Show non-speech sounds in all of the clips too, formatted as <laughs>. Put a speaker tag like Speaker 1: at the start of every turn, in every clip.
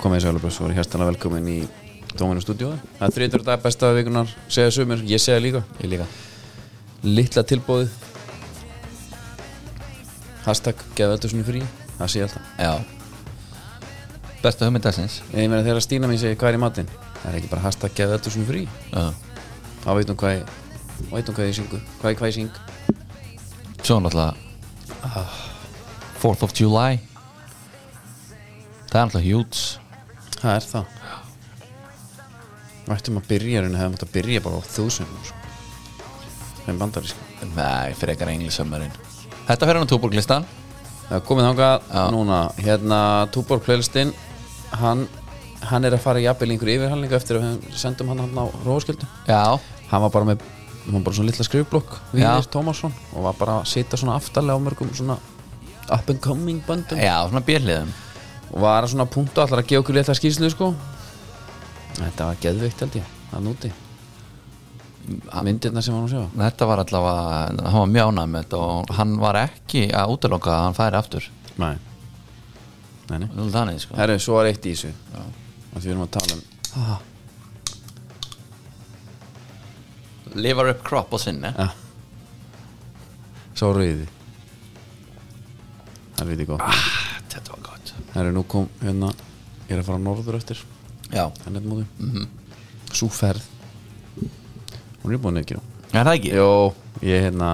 Speaker 1: komið í Sælubræs og hérstana velkomin í Dóminu stúdíói Það er 30 dag besta vikunar, segja sumir, ég segja líka
Speaker 2: Ég líka
Speaker 1: Littla tilbóðið Hashtag gefa þetta svona frí Það sé ég alltaf
Speaker 2: Já Besta hugmyndagsins
Speaker 1: Ég meina þegar Stína mín segir hvað er í matinn Það er ekki bara hashtag gefa þetta svona frí
Speaker 2: Já
Speaker 1: Þá veitum hvað ég, veitum hvað ég syngu Hvað ég, hvað ég syng
Speaker 2: Svo náttúrulega 4th of July Það er náttúrulega hjúts
Speaker 1: Það er það Vættum að byrja rauninu hefðum átt að byrja bara á þúsunum sko. Þeim bandaríska
Speaker 2: Nei, frekar englisömmarinn Þetta fer hann á túborglistan
Speaker 1: Það er komið þangað núna Hérna Túborg Plöðlistinn hann, hann er að fara í jafnvel í einhverju yfirhalningu eftir að við sendum hann hann á Róðskjöldu
Speaker 2: Já
Speaker 1: Hann var bara með hann var bara svona litla skrifblokk Vínir
Speaker 2: Já.
Speaker 1: Tómasson og var bara að sitja svona aftarlega á mörgum svona up and coming böndum
Speaker 2: Já, svona björliðum
Speaker 1: og var að svona punktu allar að gefa okkur litla skýrslu sko Þetta var geðveikt held ég að núti myndirna sem hann sjá
Speaker 2: Þetta var allavega Hann var mjánað með þetta og hann var ekki að útiloka að hann færi aftur
Speaker 1: Nei Nei, nei
Speaker 2: Nú þannig sko
Speaker 1: Herru, svo er eitt í þessu og því við erum að tala um
Speaker 2: Liver up crop á sinni
Speaker 1: ja. Svo rauði Það er viti góð ah.
Speaker 2: Þetta var gott
Speaker 1: Herru, nú kom hérna Ég er að fara norður eftir
Speaker 2: Já
Speaker 1: Hennet móti mm -hmm. Sú ferð Hún er búin ekki
Speaker 2: Er það ekki?
Speaker 1: Jó, ég hérna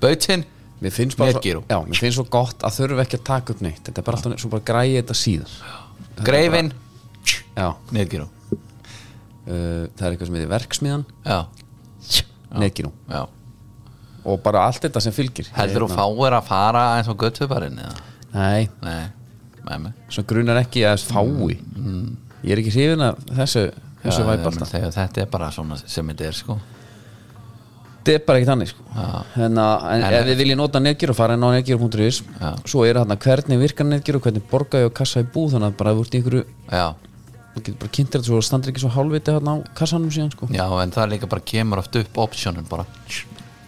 Speaker 2: Bautinn
Speaker 1: Mér finnst bara
Speaker 2: Netgyro.
Speaker 1: svo, já, mér finnst svo gott að þurfa ekki að taka upp neitt Þetta er bara alltaf svo bara græði þetta síðar
Speaker 2: Greifinn
Speaker 1: Já,
Speaker 2: Nýðgjörum
Speaker 1: uh, það er eitthvað sem heitir verksmiðan
Speaker 2: Já
Speaker 1: Neginum
Speaker 2: Já
Speaker 1: og bara allt þetta sem fylgir
Speaker 2: Heldur þú
Speaker 1: Hérna,
Speaker 2: fáir að fara eins og göttubarinn eða?
Speaker 1: Nei,
Speaker 2: Nei, með mig
Speaker 1: svo grunar ekki að þess fái Ég er ekki hrifin af þessu þessu væp alltaf
Speaker 2: Þegar þetta er bara svona sem þetta er sko
Speaker 1: Þetta er bara ekki þannig sko Þannig að en ef við viljum nota Negiru fara inn á negiru.is
Speaker 2: Já.
Speaker 1: svo er þarna hvernig virkar Negiru hvernig borga ég og kassa í búð þannig að bara ef þú ert í einhverju
Speaker 2: Já,
Speaker 1: þú getur bara kynntir þetta svo og standir ekki svo hálfviti hérna á kassanum síðan sko
Speaker 2: já, en það líka bara kemur oft upp optionum bara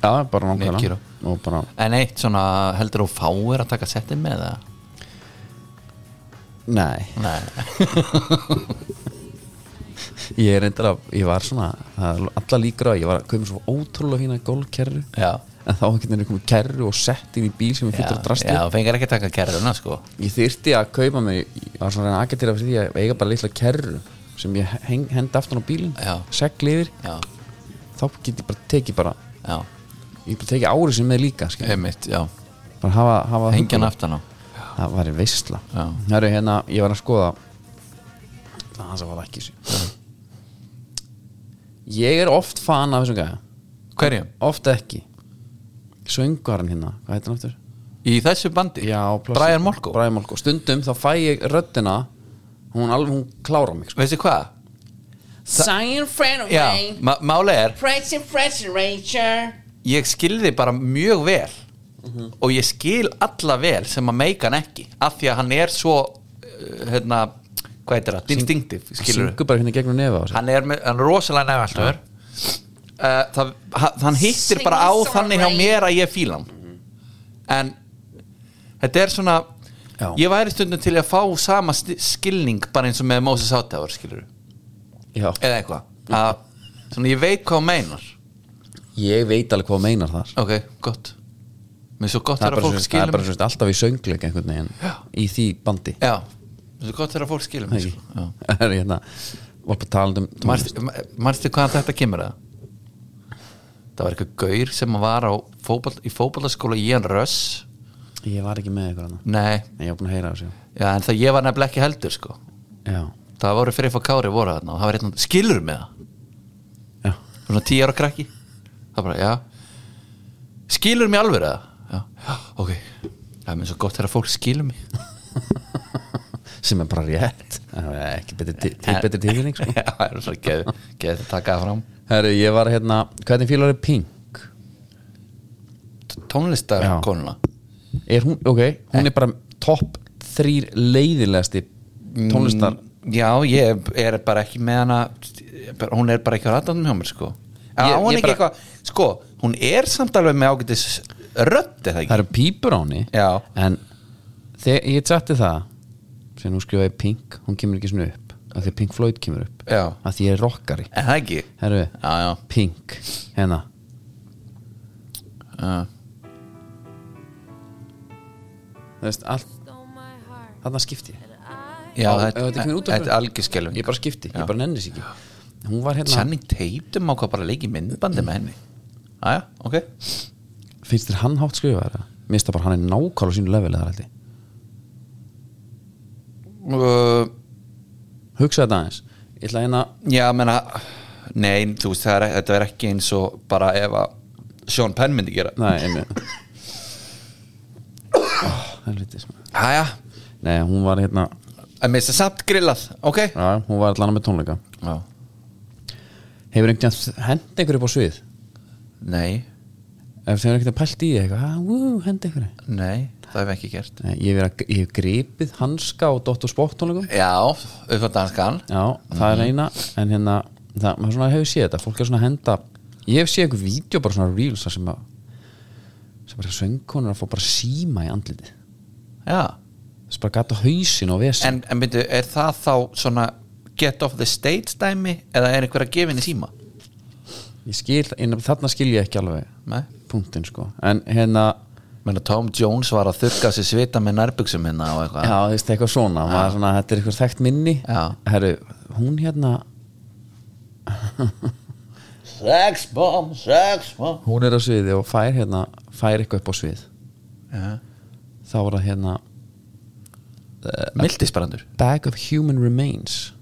Speaker 1: Já, bara nákvæmlega
Speaker 2: Netgyro.
Speaker 1: og bara
Speaker 2: En eitt svona, heldur þú fáir að taka settin með það?
Speaker 1: Nei,
Speaker 2: Nei,
Speaker 1: ég er reyndar að, ég var svona það er alla líkur að ég var að koma svo ótrúlega fína gólkerru
Speaker 2: já
Speaker 1: en þá getur henni komið kerru og sett inn í bíl sem er fullt af drasti
Speaker 2: Já, þú fengar ekki að taka kerruna sko
Speaker 1: Ég þyrti að kaupa mig, ég var svona að reyna að agitera fyrir því að eiga bara litla kerru sem ég heng, hendi aftan á bílinn,
Speaker 2: Já.
Speaker 1: segli yfir
Speaker 2: Já,
Speaker 1: þá get ég bara tekið bara
Speaker 2: já,
Speaker 1: ég get bara tekið árið sem með líka skil.
Speaker 2: einmitt, já
Speaker 1: bara hafa, hafa
Speaker 2: Hengjan aftan á
Speaker 1: það var í veistla
Speaker 2: Já.
Speaker 1: Heru, hérna, ég var að skoða það hans að var ekki sér ég er oft fan af þessum gæja
Speaker 2: Hverjum?
Speaker 1: oft ekki söngarinn hérna, hvað heitir hann aftur?
Speaker 2: Í þessu bandi?
Speaker 1: Já, pláss-
Speaker 2: Brian Molko
Speaker 1: Brian Molko, stundum þá fæ ég röddina hún alveg, hún klára mig sko.
Speaker 2: Veistu hvað?
Speaker 3: Sign friend of
Speaker 2: Já,
Speaker 3: mine,
Speaker 2: ma- máli er
Speaker 3: Pressing Fresh Ranger
Speaker 2: ég skil þið bara mjög vel
Speaker 1: Mhm.
Speaker 2: og ég skil alla vel sem að meika hann ekki af því að hann er svo uh, hérna, hvað heitir það, distinctive skilur
Speaker 1: syngur bara hérna í gegnum nefa á sér
Speaker 2: hann er, með, hann er rosalega nefnaltur uh, það, ha- hann hittir bara á
Speaker 3: Sing a song,
Speaker 2: þannig hjá
Speaker 3: Ray.
Speaker 2: mér að ég fíla hann en þetta er svona
Speaker 1: Já.
Speaker 2: ég væri stundum til að fá sama sti- skilning bara eins og með Moses Áttafur skilur
Speaker 1: Já.
Speaker 2: eða eitthvað að, svona ég veit hvað hann meinar
Speaker 1: ég veit alveg hvað þú meinar þar
Speaker 2: ok, gott mér er svo gott
Speaker 1: það er
Speaker 2: þegar
Speaker 1: bara,
Speaker 2: fólk
Speaker 1: svo, það
Speaker 2: skilur
Speaker 1: er bara svo, alltaf í söngleik einhvern veginn í því bandi
Speaker 2: já, mér er svo gott þegar fólk skilur mér
Speaker 1: Ekki?
Speaker 2: sko.
Speaker 1: <laughs> Heru, hérna, var bara talandi um tónlist.
Speaker 2: Manstu- ma- manstu hvaðan þetta kemur að það var eitthvað gaur sem var á fótball, í fótballaskóla í en röss
Speaker 1: ég var ekki með ykkur hana
Speaker 2: nei,
Speaker 1: en ég var búin að heyra á sér
Speaker 2: já, en það ég var nefnilega ekki heldur sko.
Speaker 1: já,
Speaker 2: það voru fyrir fór kári voru þarna og það var eitthvað, skilur með það
Speaker 1: já,
Speaker 2: svona tíu ára krakki það bara, já skilur mig alveg það já, já, ok, það er mér er svo gott þegar fólk skilur mig
Speaker 1: sem er bara rétt Það er ekki betri, til, til betri tilfinning sko.
Speaker 2: <laughs> já, það er svo geð, geð að taka það fram
Speaker 1: herru, ég var hérna, hvernig fílar er Pink?
Speaker 2: tónlistarkonuna
Speaker 1: er hún, ok,
Speaker 2: Eh.
Speaker 1: hún er bara topp þrýr leiðilegasti tónlistar
Speaker 2: já, ég er bara ekki með hana bara- hún er bara ekki á ratanum hjá mér sko ég,
Speaker 1: Ég-
Speaker 2: hún
Speaker 1: ég
Speaker 2: er ekki
Speaker 1: bara-
Speaker 2: eitthvað, sko, hún er samt alveg með ágætis rödd er það
Speaker 1: það
Speaker 2: ekki
Speaker 1: eru pípur á henni
Speaker 2: Já.
Speaker 1: en þegar ég tjætti það sem hún skrifaði Pink, hún kemur ekki svona upp af því að Pink Floyd kemur upp
Speaker 2: Já.
Speaker 1: af því ég er rockari
Speaker 2: En það ekki
Speaker 1: Herru,
Speaker 2: Já, já
Speaker 1: Pink, hérna
Speaker 2: Já.
Speaker 1: Þú veist, allt, þarna skipti ég Á,
Speaker 2: Já, þetta
Speaker 1: ef þetta kemur út af
Speaker 2: þetta er algjörskelving
Speaker 1: Ég bara skipti, ég bara nenni sér ekki Hún var hérna,
Speaker 2: Channing Tatum á hvað bara leiki myndbandi með henni Aja, ok
Speaker 1: finnst þér hann hátt skrifa þetta? Mista bara, hann er nákvæmlega á sínu levelið þar held ég
Speaker 2: uh,
Speaker 1: Hugsa þetta aðeins Ég ætla hérna,
Speaker 2: Já, menna Nei, þú veist, það er, þetta er ekki eins og bara ef að Sean Penn myndi gera
Speaker 1: nei, einmitt oh, Helvitis maður.
Speaker 2: Aja,
Speaker 1: Nei, hún var hérna
Speaker 2: að missa samt grillað, ok
Speaker 1: já, Hún var allan með tónleika
Speaker 2: Já
Speaker 1: Hefur einhvern veginn hend einhverju upp á svið?
Speaker 2: Nei,
Speaker 1: Ef þeir eru ekkert að pælt í eitthvað ah, wú, Hend einhverju
Speaker 2: nei, það hef ég ekki gert
Speaker 1: Nei, Ég hef verið að- ég hef gripið hanska og dottur spott tónleikum
Speaker 2: Já, auðvitað danskan
Speaker 1: Já, það er eina En hérna, það, maður svona hefur séð þetta Fólk er svona að henda Ég hef séð einhver vídeo bara svona reels þar sem að sem bara söngkonur að fá bara síma í andlitið
Speaker 2: Já,
Speaker 1: þess bara gata hausin og vesen
Speaker 2: en, en myndu, er það þá svona get off the stage dæmi eða er einhver að gefa henni síma?
Speaker 1: ég skil, en þarna skil ég ekki alveg
Speaker 2: Nei
Speaker 1: punktin sko, en hérna
Speaker 2: Menna Tom Jones var að þurrka sér svita með nærbuxum hérna og eitthvað
Speaker 1: já, þú veist, eitthvað svona, maður svona þetta er eitthvað þekkt minni
Speaker 2: Já.
Speaker 1: Herru, hún hérna
Speaker 2: Sex bomb, sex bomb
Speaker 1: hún er á sviði og fær hérna fær eitthvað upp á svið
Speaker 2: Já.
Speaker 1: þá var það hérna
Speaker 2: Eh, Mildisbrandur
Speaker 1: bag of human remains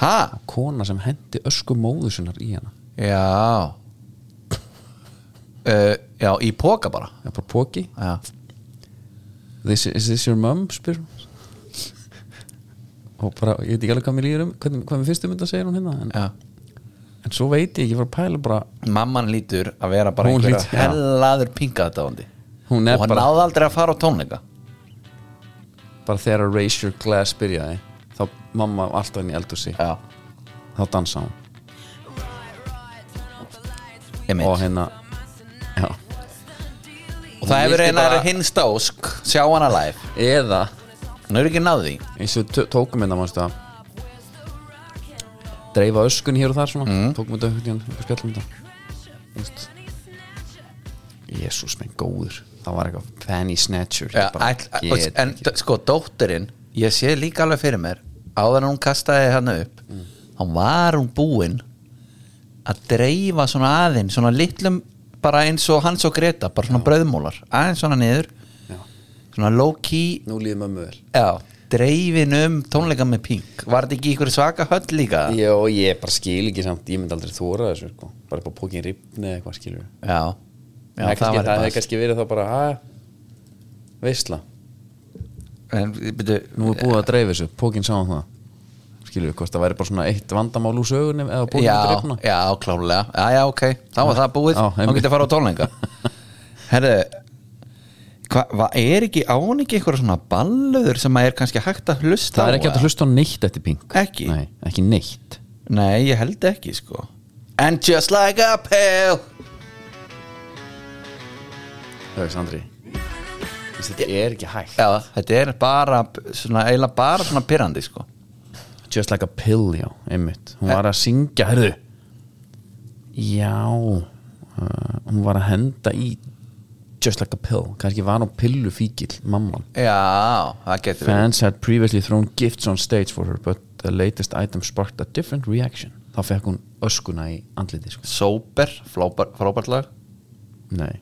Speaker 2: Ha?
Speaker 1: kona sem hendi ösku móður sinnar í hana
Speaker 2: Já uh, Já, í póka bara
Speaker 1: það er bara póki
Speaker 2: Já,
Speaker 1: this, is this your mum, spyr hún og bara, ég veit ekki alveg hvað mér líður um hvað, hvað mér fyrstum þetta segir hún hérna en,
Speaker 2: já
Speaker 1: en svo veit ég, ég var að pæla bara
Speaker 2: Mamman lítur að vera bara
Speaker 1: Hún
Speaker 2: einhver
Speaker 1: hlýtur- já.
Speaker 2: hellaður pinga þetta vondi
Speaker 1: Hún er
Speaker 2: Og hann
Speaker 1: bara-
Speaker 2: náði aldrei að fara á tónleika
Speaker 1: bara þegar að Raise Your Glass byrjaði þá mamma var alltaf inn í eldhúsi
Speaker 2: Já,
Speaker 1: þá dansa hún
Speaker 2: ég mynd
Speaker 1: og hérna já.
Speaker 2: og það
Speaker 1: Hún
Speaker 2: hefur
Speaker 1: vildi
Speaker 2: einar
Speaker 1: bara-
Speaker 2: hinn stásk sjá hana live,
Speaker 1: eða
Speaker 2: hún er ekki náði
Speaker 1: eins og við tö- tókum hérna mannstu að dreifa öskun hér og þar svona tókum þetta einhvern tíðan, einhver spjallum þetta Vist. Jésús minn góður það var eitthvað Fanny Snatcher
Speaker 2: ja,
Speaker 1: Ég bara
Speaker 2: ætl,
Speaker 1: get
Speaker 2: en
Speaker 1: ekki.
Speaker 2: d- sko, dóttirinn ég sé líka alveg fyrir mér áður en hún kastaði hann upp hann var hún búin að dreifa svona aðinn svona litlum, bara eins og hans og Greta bara svona brauðmólar, aðeins svona niður
Speaker 1: Já.
Speaker 2: svona low key
Speaker 1: nú líður mömmu vel
Speaker 2: já, dreifin um tónleika með pink var þetta ekki í ykkur svaka höll líka
Speaker 1: já, ég bara skil ekki samt ég myndi aldrei þóra þessu sko. bara upp á pókin ripni eða eitthvað skilur
Speaker 2: já, já
Speaker 1: það, kannski, það
Speaker 2: bara-
Speaker 1: hefði kannski verið þá bara að veistla
Speaker 2: en, byrju,
Speaker 1: nú er búið að dreifa þessu, pókin sá um það skilur við, hvort það væri bara svona eitt vandamál úr sögunni eða pókin
Speaker 2: já,
Speaker 1: að dreifna
Speaker 2: já, klálega, já, já, ok þá var það búið,
Speaker 1: Já,
Speaker 2: þá getur að fara á tónleika herðu hva, hva, er ekki án ekki einhverja svona ballöður sem að er kannski hægt að hlusta
Speaker 1: það er ekki hægt að hlusta á neitt eftir pink
Speaker 2: Ekki?
Speaker 1: Nei, ekki neitt
Speaker 2: hlusta nei, ég held ekki, sko and just like a pill
Speaker 1: það er Sandri þetta er ekki hægt
Speaker 2: já, þetta er bara svona, eiginlega bara svona pyrrandi, sko
Speaker 1: just like a pill, já, einmitt hún var að syngja, herðu já uh, hún var að henda í just like a pill, kannski var hún pillu fíkil mamman
Speaker 2: já, það getur verið
Speaker 1: Fans had previously thrown gifts on stage for her but the latest item sparked a different reaction þá fekk hún öskuna í andliti sko.
Speaker 2: sober, frábær- frábært lag
Speaker 1: Nei,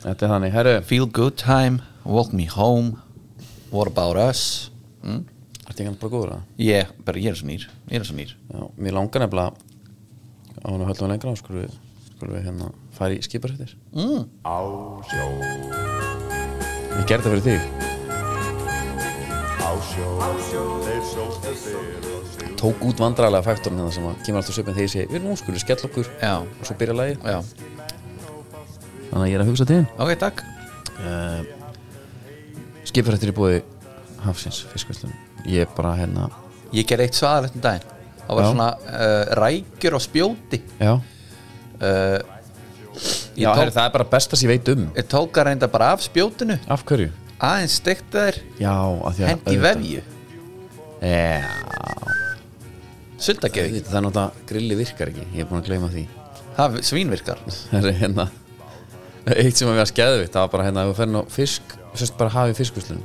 Speaker 1: þetta er þannig Herru,
Speaker 2: feel good time, walk me home what about us mm?
Speaker 1: ertu ekki hann bara góður að
Speaker 2: ég, bara ég er svo nýr, ég er svo nýr
Speaker 1: Já, mér langar nefnilega á hann að höllum lengra á skulum við, skulum við hérna fara í skiparsettir mm. Á sjó Ég gerði það fyrir þig Tók út vandræðlega faktorinn hérna sem að kemur alltaf söpinn þegar ég segi við nú skulum við skella okkur
Speaker 2: Já.
Speaker 1: og svo byrja lagið
Speaker 2: Já,
Speaker 1: Þannig að ég er að hugsa til
Speaker 2: ok, takk
Speaker 1: Skiparsettir er búið Hafsins fiskvistlun Ég er bara hérna
Speaker 2: Ég gerði eitt svaðalegt um daginn Það var
Speaker 1: Já.
Speaker 2: svona uh, rækjur og spjóti
Speaker 1: Já,
Speaker 2: uh, ég,
Speaker 1: Já
Speaker 2: tók,
Speaker 1: herri, það er bara besta sem ég veit um
Speaker 2: ég tók að reynda bara af spjótinu
Speaker 1: Af hverju?
Speaker 2: aðeins stekta þær
Speaker 1: Já, af því að
Speaker 2: hendi
Speaker 1: auðvitað-
Speaker 2: vefju
Speaker 1: Já,
Speaker 2: Suldageðing,
Speaker 1: það er náttúrulega grilli virkar ekki Ég er búin að gleyma því
Speaker 2: það svínvirkar
Speaker 1: Það er hérna Eitt sem að við að skeðu við Það var bara hérna ef þú ferð á fisk Sérst bara hafið fiskuslun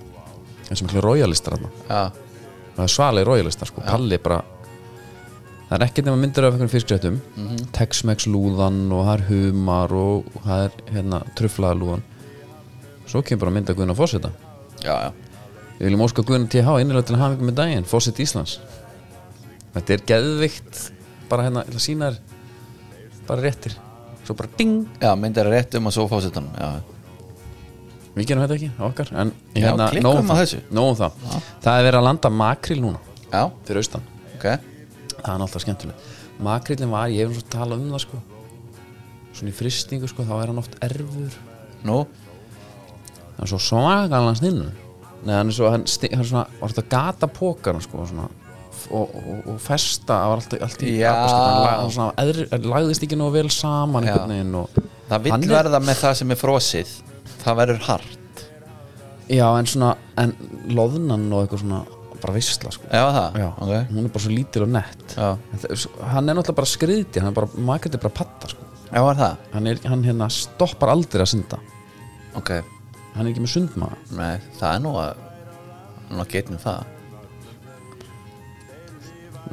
Speaker 1: Það er sem ekki royalistar hérna
Speaker 2: Já,
Speaker 1: Það er svalið royalistar sko Palli er bara Það er ekkert nema myndir af einhverjum fiskréttum
Speaker 2: Mhm.
Speaker 1: Tex-Mex lúðan og það er humar og það er hérna truflaða lúðan Svo kemur bara mynda Guðna Fósita
Speaker 2: já, já
Speaker 1: Við viljum óska Guðna TH innilega til að hafa ykkur með daginn Fósit Íslands Þetta er geðvikt Bara hérna, ég ætla að sína þér Bara réttir Svo bara ding
Speaker 2: Já, myndar rétt um að svo fósitanum Já,
Speaker 1: Við gerum þetta ekki á okkar En
Speaker 2: Já, klikkum
Speaker 1: nóg um
Speaker 2: á
Speaker 1: það,
Speaker 2: þessu.
Speaker 1: nóg um það. það er verið að landa makril núna
Speaker 2: já,
Speaker 1: Fyrir austan
Speaker 2: ok
Speaker 1: Það er alltaf skemmtileg Makrilin var, ég hef svo talað um það sko Svona í fristingu sko, þá er hann oft erfur
Speaker 2: Nú,
Speaker 1: Hann er svo svagalan sninnur Nei, hann er svo, hann, sti, hann er svona Var þetta gata pókar sko svona, og, og, og festa Það var alltaf, alltaf í
Speaker 2: Já.
Speaker 1: gapaskipta. Hann lag- hann svona, eðri, hann lagðist ekki nú vel saman
Speaker 2: Já.
Speaker 1: einhvern veginn og
Speaker 2: það vill
Speaker 1: Hann er-
Speaker 2: verða með það sem er frosið Það verður hart
Speaker 1: Já, en svona, en loðnan og eitthvað svona bara veistla sko
Speaker 2: Já, það,
Speaker 1: Já,
Speaker 2: ok
Speaker 1: hún er bara svo lítil og nett
Speaker 2: Já.
Speaker 1: En það- s- Hann er náttúrulega bara skriðti Hann er bara, maður er bara patta sko.
Speaker 2: Já, var það,
Speaker 1: hann, er, hann hérna stoppar aldrei að synda
Speaker 2: ok
Speaker 1: Hann er ekki með sundmaga
Speaker 2: Nei, það er nú að Nú að getum það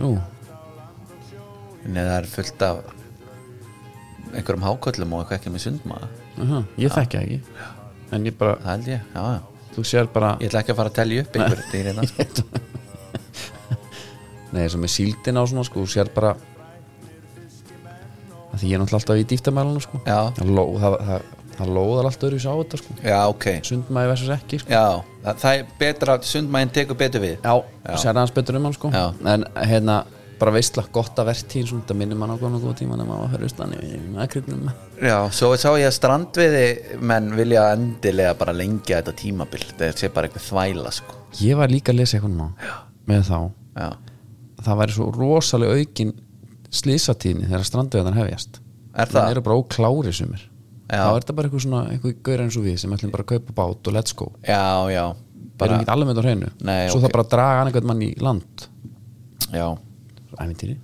Speaker 1: Jú,
Speaker 2: Nei, það er fullt af einhverjum háköllum og eitthvað ekki með sundmaða
Speaker 1: uh ég þekki það ekki En ég bara,
Speaker 2: Það held ég, já, já
Speaker 1: þú sér bara
Speaker 2: Ég ætla ekki að fara að telja upp einhver dýr innan,
Speaker 1: <laughs>
Speaker 2: sko.
Speaker 1: Nei, sem er síldin á svona sko Þú sér bara Af Því ég er náttúrulega alltaf í dýftamælunum sko
Speaker 2: Já.
Speaker 1: Það, ló, það, það, það lóðar alltaf öðru á þetta sko
Speaker 2: Já, ok
Speaker 1: Sundmagi versus ekki sko
Speaker 2: Já, það, það er betra að sundmæðin tekur betur við
Speaker 1: Já, sér aðeins betur um hann sko
Speaker 2: Já.
Speaker 1: En hérna, bara veistla gott að vertíð svona, Það minnir mann á góðan og góða tíma Nefn að hörðust hann í makriðnum
Speaker 2: Já, svo sá ég að strandviði menn vilja endilega bara lengja þetta tímabil þetta sé bara eitthvað þvæla sko
Speaker 1: Ég var líka að lesa eitthvað má Með þá,
Speaker 2: Já,
Speaker 1: að það væri svo rosalega aukin Slýsatíðni þegar strandveðan hefjast
Speaker 2: Er það?
Speaker 1: eru bara óklári sumir
Speaker 2: Já.
Speaker 1: Þá er þetta bara eitthvað svona, eitthvað gaur eins og við sem ætlum bara að kaupa bát og let's go
Speaker 2: já, já
Speaker 1: Bara
Speaker 2: bara,
Speaker 1: ekki alveg með á hreinu
Speaker 2: Nei,
Speaker 1: Svo
Speaker 2: ok.
Speaker 1: það bara að draga annað mann í land
Speaker 2: já,
Speaker 1: Æmintýri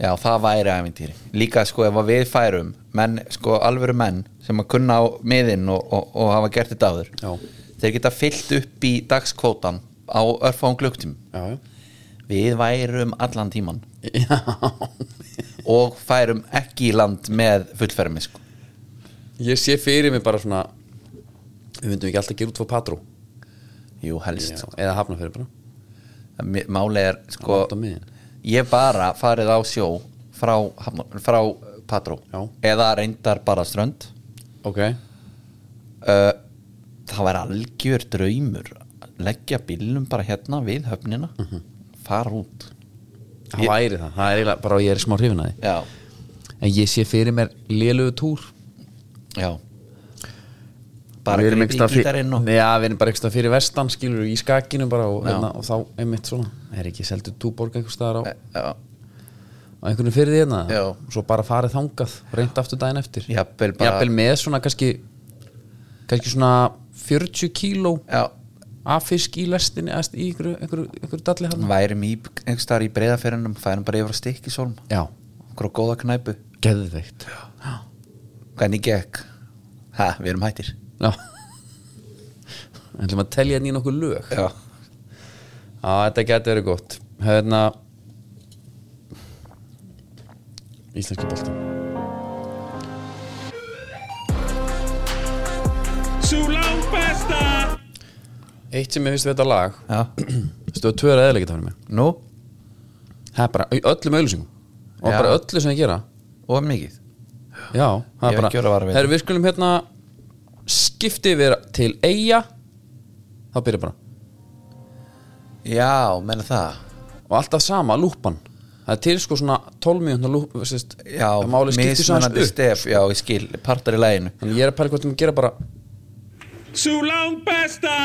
Speaker 2: já, það væri ævintýri Líka sko ef að við færum menn, sko alvöru menn sem að kunna á miðinn og, og, og hafa gert þetta áður
Speaker 1: Já.
Speaker 2: þeir geta fyllt upp í dagskvótan á örfáum glögtum
Speaker 1: Já, <laughs> já
Speaker 2: Við værum allan tíman
Speaker 1: Já
Speaker 2: og færum ekki í land með fullfermi sko
Speaker 1: Ég sé fyrir mig bara svona Við myndum ekki alltaf að gera út fór patrú
Speaker 2: Jú, helst
Speaker 1: Eða hafna fyrir bara
Speaker 2: Mi- Máli er sko
Speaker 1: Langt á miðin.
Speaker 2: Ég hef bara farið á sjó frá, Hafnar- frá Patró
Speaker 1: Já.
Speaker 2: eða reyndar bara strönd
Speaker 1: Ok
Speaker 2: uh, Það var algjör draumur að leggja bílnum bara hérna við höfnina
Speaker 1: Mhm.
Speaker 2: fara út
Speaker 1: Það væri það, það er eiginlega bara ég er smá hrifin að
Speaker 2: Já,
Speaker 1: því En ég sé fyrir mér lélugu túr
Speaker 2: já Bara
Speaker 1: Við erum
Speaker 2: grípið í
Speaker 1: einhverstað fyrir-
Speaker 2: gítarinn og
Speaker 1: Já, við erum bara einhverstað fyrir vestan skilur í skakinu bara og,
Speaker 2: Já.
Speaker 1: hérna, og þá einmitt svona Er ekki seldu túborg einhverstaðar á,
Speaker 2: Eh, Já,
Speaker 1: á einhvern fyrir því hérna
Speaker 2: Já.
Speaker 1: Svo bara farið þangað, reynd aftur daginn eftir
Speaker 2: Jafnvel bara-
Speaker 1: Jafnvel með svona kannski kannski svona 40 kíló
Speaker 2: já
Speaker 1: af fisk í lestinni eða í einhverju, einhverju, einhverju dalli hann
Speaker 2: Værum í, einhvers staðar í breyðaferinum færum bara yfir að stikki sólm
Speaker 1: Já,
Speaker 2: Hverju góða knæpu
Speaker 1: geðveikt
Speaker 2: Hvernig gekk? Ha, við erum hættir
Speaker 1: Já En hlum að telja hérna í nokkuð lög
Speaker 2: Já,
Speaker 1: Já, þetta geti verið gott Hérna Íslenski bolti
Speaker 4: Sú langt besta
Speaker 1: Eitt sem ég finnst við þetta lag
Speaker 2: já
Speaker 1: Stöðu tvö er eða leikita fyrir mig
Speaker 2: Nú,
Speaker 1: Það er bara í öllum auðlýsingum Og
Speaker 2: Já.
Speaker 1: bara öllu sem ég gera
Speaker 2: og mikið
Speaker 1: Já, það er
Speaker 2: Ég er
Speaker 1: bara
Speaker 2: ekki að vara við
Speaker 1: Herru, við skulum hérna Skipti við til eiga Þá byrja bara
Speaker 2: Já, menna það
Speaker 1: Og alltaf sama, lúpan Það er til sko svona 12 mínútna lúp sérst,
Speaker 2: Já,
Speaker 1: að Máli skipti svo hans
Speaker 2: mismunandi
Speaker 1: upp
Speaker 2: stef Já, ég skil, partar í læginu
Speaker 1: Þannig ég er að pæla hvort um að gera bara
Speaker 4: Sú langt besta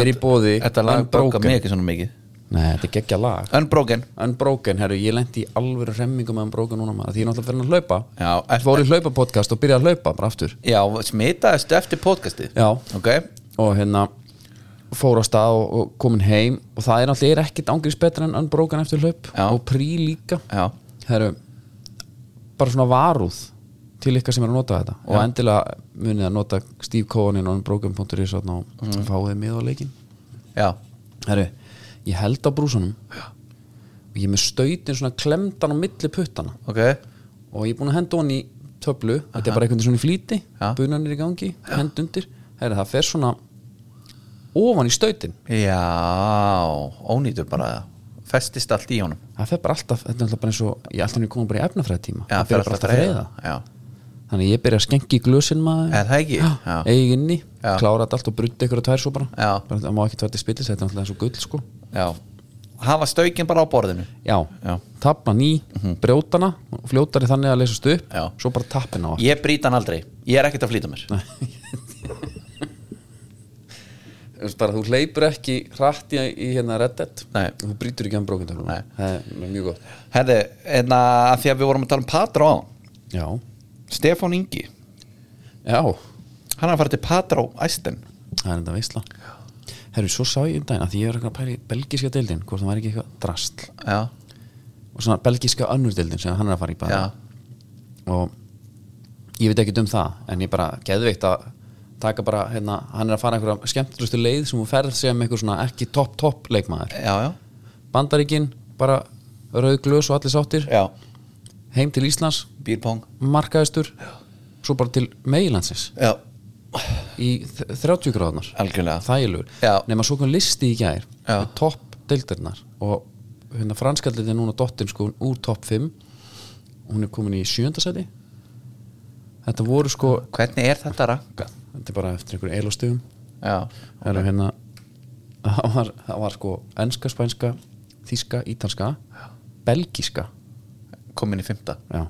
Speaker 1: Er í bóði
Speaker 2: Þetta lag bóka mig ekki svona mikið
Speaker 1: Nei, þetta er geggja lag
Speaker 2: Unbroken
Speaker 1: Unbroken, herru, ég lendi í alvöru remmingum með Unbroken núna maður Því ég er náttúrulega fyrir að hlaupa
Speaker 2: Já,
Speaker 1: Ég fór í hlaupapodcast og byrjaði að hlaupa bara aftur
Speaker 2: Já, smitaðist eftir podcastið
Speaker 1: Já.
Speaker 2: Ok,
Speaker 1: Og hérna, fór á stað og, og komin heim og það er náttúrulega er ekkit ángriðs betra en Unbroken eftir hlaup
Speaker 2: Já.
Speaker 1: og prí líka
Speaker 2: Já.
Speaker 1: það eru bara svona varúð til ykkar sem er að nota þetta og endilega munið að nota Steve Cohen og Unbroken.is og mm. fáið mið á leikin
Speaker 2: Já,
Speaker 1: Herru, ég held á brúsunum og ég er með stautin svona klemdan á milli puttana
Speaker 2: ok
Speaker 1: og ég er búin að henda hon í töflu þetta er bara einhvern veginn svona í flýti
Speaker 2: Já.
Speaker 1: bunan er í gangi, hend undir Herru, það fer svona ofan í stautin
Speaker 2: Já, ónýtur bara það Festist allt í honum
Speaker 1: það fer bara alltaf, þetta er alltaf bara eins og ég alltaf er komið bara í efnafræði tíma
Speaker 2: Já,
Speaker 1: það fer bara alltaf að reyða
Speaker 2: Já,
Speaker 1: þannig að ég byrja að skenki í glösin maður
Speaker 2: Er það ekki? Já.
Speaker 1: eigin inni,
Speaker 2: Já.
Speaker 1: klára þetta allt og bruddi ykkur að tvær svo bara,
Speaker 2: Já.
Speaker 1: bara það má ekki tvær til spillis þetta er alltaf eins og gull sko
Speaker 2: já Hafa staukin bara á borðinu
Speaker 1: já,
Speaker 2: Já. Mhm.
Speaker 1: tapna ný, brjótana fljótari þannig að leysast upp
Speaker 2: Já.
Speaker 1: svo bara tappin á allt
Speaker 2: Ég brýt hann aldrei, ég er ekkert að flýta mér
Speaker 1: Þú veist bara, þú hleypur ekki hratt í, í hérna Red Dead
Speaker 2: Nei.
Speaker 1: þú brýtur ekki hann brókintöflum
Speaker 2: Nei.
Speaker 1: það er mjög gott
Speaker 2: Herði, en að því að við vorum að tala um Patró
Speaker 1: já,
Speaker 2: Stefán Ingi,
Speaker 1: já,
Speaker 2: hann er að fara til Patró Æsten
Speaker 1: það er enda veistla herru, svo sá ég um daginn að því ég er eitthvað að pæla í belgíska deildin hvort það var ekki eitthvað drastl
Speaker 2: Já,
Speaker 1: og svona belgíska önnur deildin sem hann er að fara í bara
Speaker 2: já,
Speaker 1: og ég veit ekki um það en ég bara geðveikt að taka bara, hérna, hann er að fara einhverja skemmtlustu leið sem hún ferð sem einhver svona ekki topp topp leikmaður
Speaker 2: já, já,
Speaker 1: Bandaríkin, bara rauð glös og allir sáttir
Speaker 2: já.
Speaker 1: heim til Íslands,
Speaker 2: Bírpong
Speaker 1: markaðistur svo bara til meilandsins
Speaker 2: Já,
Speaker 1: í þ- 30 gráðunar
Speaker 2: Algjörlega. Já.
Speaker 1: þægilegur, nema svo kom listi í gær
Speaker 2: Já.
Speaker 1: með topp deildarinnar og hérna franskaldið er núna dottin sko úr topp 5 hún er komin í sjöndasæti þetta voru sko
Speaker 2: hvernig er þetta ranka?
Speaker 1: þetta er bara eftir einhverju eilostöfum
Speaker 2: Já,
Speaker 1: það eru hérna það var, það var sko enska, spænska, þíska, ítalska belgíska
Speaker 2: komin í fymta
Speaker 1: já.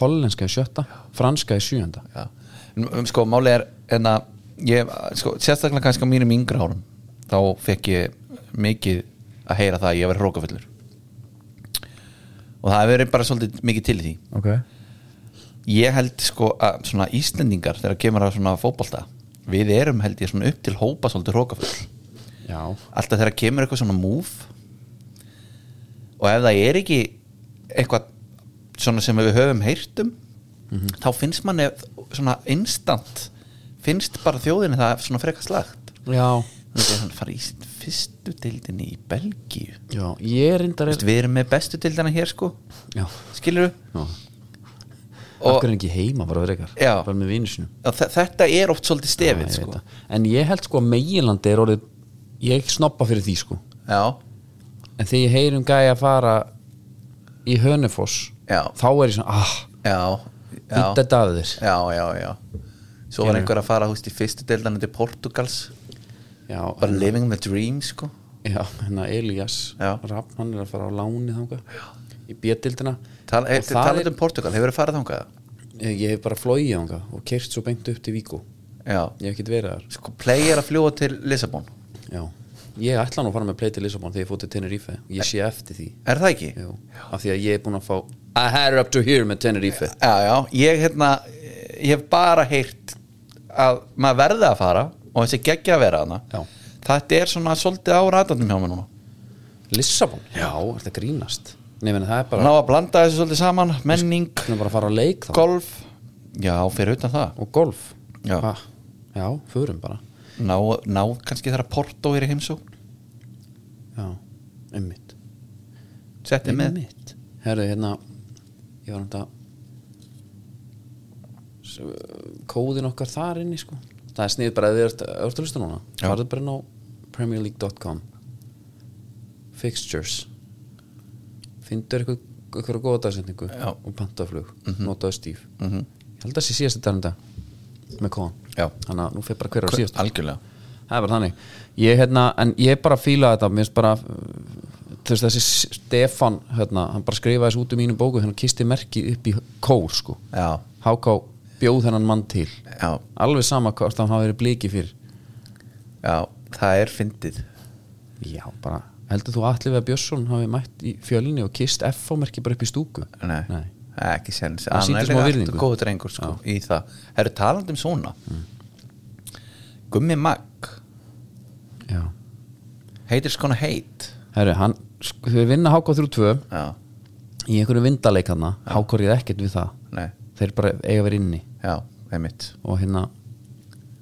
Speaker 1: hollenska í sjötta franska í sjöunda
Speaker 2: Já. Um, sko máli er en að ég, sko, sérstaklega kannski á mínum yngra árum þá fekk ég mikið að heyra það að ég hef verið hrókafullur og það hefur verið bara svolítið mikið til í því
Speaker 1: ok
Speaker 2: ég held sko að svona Íslendingar þegar kemur að svona fótbolta við erum held ég svona upp til hópa svolítið hrókafull
Speaker 1: já,
Speaker 2: alltaf þegar kemur eitthvað svona move og ef það er ekki eitthvað svona sem við höfum heyrtum
Speaker 1: Mhm.
Speaker 2: þá finnst manni svona instant finnst bara þjóðinni það svona frekar slagt
Speaker 1: já,
Speaker 2: þannig að hann fara í fyrstu deildinni í Belgíu
Speaker 1: já ég reyndar
Speaker 2: Vist, við erum með bestu deildina hér sko
Speaker 1: já,
Speaker 2: skilur
Speaker 1: já af
Speaker 2: Og-
Speaker 1: hverju er ekki heima bara verið ykkar
Speaker 2: Já.
Speaker 1: bara með vinnisinu
Speaker 2: þetta er oft svolítið stefið sko.
Speaker 1: en ég held sko að meginlandi er orðið ég snoppa fyrir því sko
Speaker 2: já,
Speaker 1: en þegar ég heyri um gæja að fara í Hönefoss
Speaker 2: Já.
Speaker 1: þá er ég svona, ah,
Speaker 2: já, já,
Speaker 1: Þetta daðir
Speaker 2: já, já, já svo var einhver að fara húst í fyrstu deildina til Portugals
Speaker 1: Já,
Speaker 2: bara living the dream sko
Speaker 1: já hérna Elias
Speaker 2: Já.
Speaker 1: Rapp, hann er að fara á láni þanga í bjöldildina
Speaker 2: Tal, er,
Speaker 1: það
Speaker 2: talað um Portugal, hefur þið farið þangað?
Speaker 1: Ég ég hef bara flóið þanga og kert svo beint upp til Víko
Speaker 2: Já,
Speaker 1: Ég hef ekkert verið þar
Speaker 2: sko play er að fljúa til Lissabon
Speaker 1: já. Ég ætla nú að fara með play til Lissabon þegar ég fótt til Tenerife Ég sé eftir því
Speaker 2: Er það ekki?
Speaker 1: já. af því að ég er búin að fá I had her up to here með Tenerife
Speaker 2: Já, já, ég hérna ég hef bara heyrt að maður verði að fara og þessi geggja að vera hana
Speaker 1: Já.
Speaker 2: Þetta er svona svolítið á rætandum hjá mér núna
Speaker 1: Lissabon? Já, þetta grínast Nei, meni, það er
Speaker 2: Ná
Speaker 1: bara,
Speaker 2: að blanda þessu svolítið saman, menning,
Speaker 1: það er bara að fara á leik þá
Speaker 2: golf Já, fyrir utan það
Speaker 1: og golf
Speaker 2: Já.
Speaker 1: Ha, já förum bara
Speaker 2: Ná, ná kannski þegar Porto er í heimsó
Speaker 1: Já, einmitt
Speaker 2: Settið með
Speaker 1: mitt Herðu, hérna Ég var náttúrulega S- Kóðin okkar þar inni sko Það er sniðið bara að þið ert ert að hlusta núna
Speaker 2: Já.
Speaker 1: Farðu bara inn á premierleague.com Fixtures Findur eitthvað eitthvað góða dagsetningu
Speaker 2: Já. Mhm.
Speaker 1: og pantaflug, notaðu stíf Ég held að það sé síðast þetta enda með kóðan
Speaker 2: Já.
Speaker 1: Þannig að nú fyrir bara hverjar á síðast
Speaker 2: Algjörlega
Speaker 1: það er bara þannig ég, hérna, en ég bara fíla þetta mér finnst bara uh, þú veist, þessi Stefan hérna, hann bara skrifaði þessu út um mínu bóku hann kisti merkið upp í kór sko.
Speaker 2: Já,
Speaker 1: háká bjóð þennan mann til
Speaker 2: já,
Speaker 1: alveg sama hvort hann hafi verið bliki fyrir
Speaker 2: já, það er fyndið
Speaker 1: já bara heldur þú að Atli Veða Björnsson hafi mætt í fjölinni og kist F-merki bara upp í stúku
Speaker 2: Nei, það er ekki sens
Speaker 1: Það sýndi smá virðingu.
Speaker 2: Góð drengur sko, í það
Speaker 1: Mm.
Speaker 2: Herru talandi um svona Gummi Magg
Speaker 1: já
Speaker 2: Hate is gonna hate
Speaker 1: Herru, hann, sk- þau vinna HK 32
Speaker 2: Já,
Speaker 1: í einhverju vindaleik hann HK er ekkert við það
Speaker 2: nei,
Speaker 1: þeir bara eiga að vera inni
Speaker 2: já, einmitt
Speaker 1: og hérna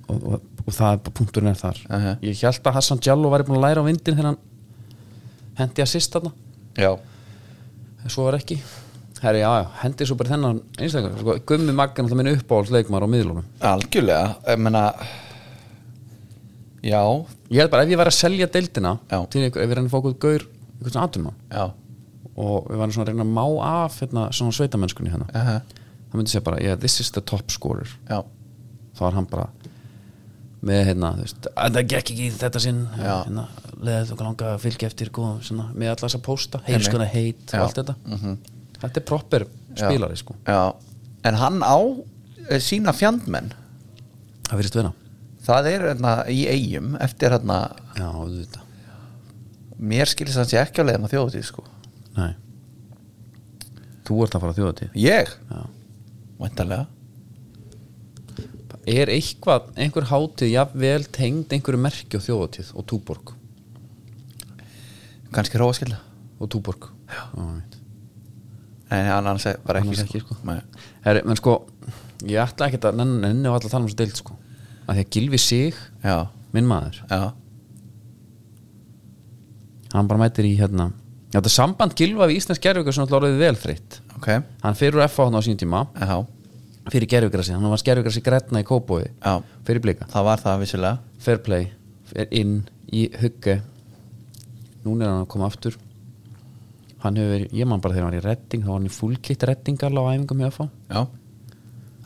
Speaker 1: og, og, og það er bara punkturinn er þar
Speaker 2: Aha.
Speaker 1: ég held að Hassan Djallo væri búin að læra á vindin þegar hann hendi að sýst þarna
Speaker 2: Já,
Speaker 1: en svo var ekki Herri, já, já, hendi svo bara þennan einstaklega sko, Gummi Maggan alltaf minn uppáhaldsleikmar á miðlunum
Speaker 2: algjörlega Ég meina Já,
Speaker 1: Ég held bara ef ég væri að selja deildina
Speaker 2: Já.
Speaker 1: til ykkur, ef ég reyna að fá okkur gaur einhvern svona atumann
Speaker 2: já,
Speaker 1: og við varum svona að reyna að má af hérna, svona sveitamennskunni hérna
Speaker 2: aha,
Speaker 1: það myndi segja bara, yeah, this is the top scorer
Speaker 2: já
Speaker 1: þá var hann bara með hérna, þú veist, "Að það gekk ekki í þetta sinn
Speaker 2: Já.
Speaker 1: hérna, leðið okkur langa að fylgja eftir góðum, svona, með alla þess að pósta heitir
Speaker 2: Einmitt.
Speaker 1: sko það heit
Speaker 2: Já.
Speaker 1: og allt þetta þetta er proper spilari sko
Speaker 2: Já, en hann á eh, sína fjandmenn
Speaker 1: það virðist vera,
Speaker 2: Það er hérna í eigum eftir hérna,
Speaker 1: já, þú veit það
Speaker 2: mér skilist hans ég ekki á leiðin á þjóðutíð sko
Speaker 1: nei þú ert að fara þjóða til
Speaker 2: Ég?
Speaker 1: Já.
Speaker 2: Væntanlega
Speaker 1: er eitthvað, einhver hátíð jafnvel tengd einhverju merki og þjóðatíð og túborg
Speaker 2: Kannski róaskilda
Speaker 1: og túborg já, já veit
Speaker 2: En hann annars var ekki,
Speaker 1: Annars ekki, sko.
Speaker 2: Nei.
Speaker 1: Herri, menn sko, ég ætla ekkert að nenni nenni og ætla að tala um þessu deild sko að því að Gilvi sig,
Speaker 2: Já,
Speaker 1: minn maður
Speaker 2: já,
Speaker 1: hann bara mætir í hérna þetta samband Gilva við Íslands gerðvíkar sem alltaf orðið vel þreytt
Speaker 2: ok
Speaker 1: hann fyrir FH hann á sínum tíma
Speaker 2: Já,
Speaker 1: fyrir gerðvíkarasi, hann var gerðvíkarasi grætna í Kóbói
Speaker 2: já,
Speaker 1: fyrir blika,
Speaker 2: það var það vissulega
Speaker 1: fair play er inn í hugge núna er hann að koma aftur hann hefur verið, ég man bara þegar hann var í redding þá var hann í fullkitt reddingal á æfingum í FH
Speaker 2: Já,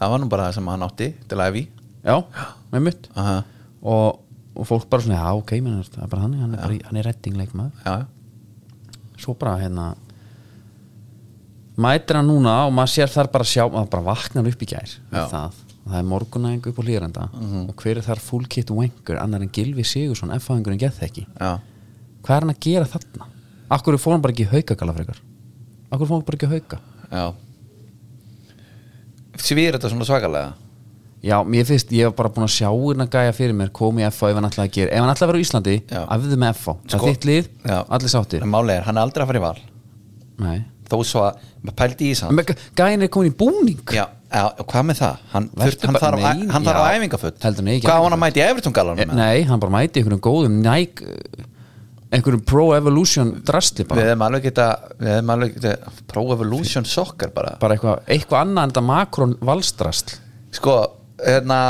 Speaker 2: það var nú bara það sem hann átti til að við
Speaker 1: já, með mutt
Speaker 2: Aha,
Speaker 1: og, og fólk bara svona, já ok menn, það er bara hann, hann er, bara, í- hann er reddingleikmaður
Speaker 2: já,
Speaker 1: svo bara hérna mætir hann núna og maður sér þar bara sjá maður bara vaknar upp í gær við
Speaker 2: Já. Mhm.
Speaker 1: það, Og það er morgunæðingu upp á hlýrenda og hver er þar full kit wanker annar en Gilvi Sigursson, F-hæðingurinn geð þekki
Speaker 2: já
Speaker 1: hvað er hann að gera þarna? Akkur fór hann bara ekki í hauka galafrekar Akkur fór hann bara ekki í hauka
Speaker 2: Já Svýr þetta svona svakalega
Speaker 1: Já, mér finnst, ég hef bara búin að sjá hérna gæja fyrir mér komið í FH ef hann ætlaði að gera ef hann ætlaði að vera á Íslandi,
Speaker 2: Já.
Speaker 1: afðu með FH það er
Speaker 2: Sko-
Speaker 1: þitt lið,
Speaker 2: Já.
Speaker 1: allir sáttir
Speaker 2: En málið er, hann er aldrei að fara í val
Speaker 1: Nei
Speaker 2: Þó svo að, maður pældi í þess hann
Speaker 1: Men gæ- Gæinn er komin í búning
Speaker 2: Já, já, hvað með það? Hann,
Speaker 1: Vertu
Speaker 2: þurft, hann,
Speaker 1: bara-
Speaker 2: þarf, á-
Speaker 1: nei,
Speaker 2: hann þarf á
Speaker 1: já.
Speaker 2: æfingafutt
Speaker 1: Heldur hann ekki
Speaker 2: Hvað á hann
Speaker 1: æfingafull?
Speaker 2: að mæti í Evertunggalanum?
Speaker 1: Eh, Nei, hann bara mæti einhverjum góðum Nike uh, einhverjum Pro Evolution drastli
Speaker 2: Við
Speaker 1: bara,
Speaker 2: hefum alveg geta, við hefum alveg geta Pro Evolution Soccer bara
Speaker 1: bara eitthvað, eitthvað annað en þetta Macron valstrastl
Speaker 2: Sko, hérna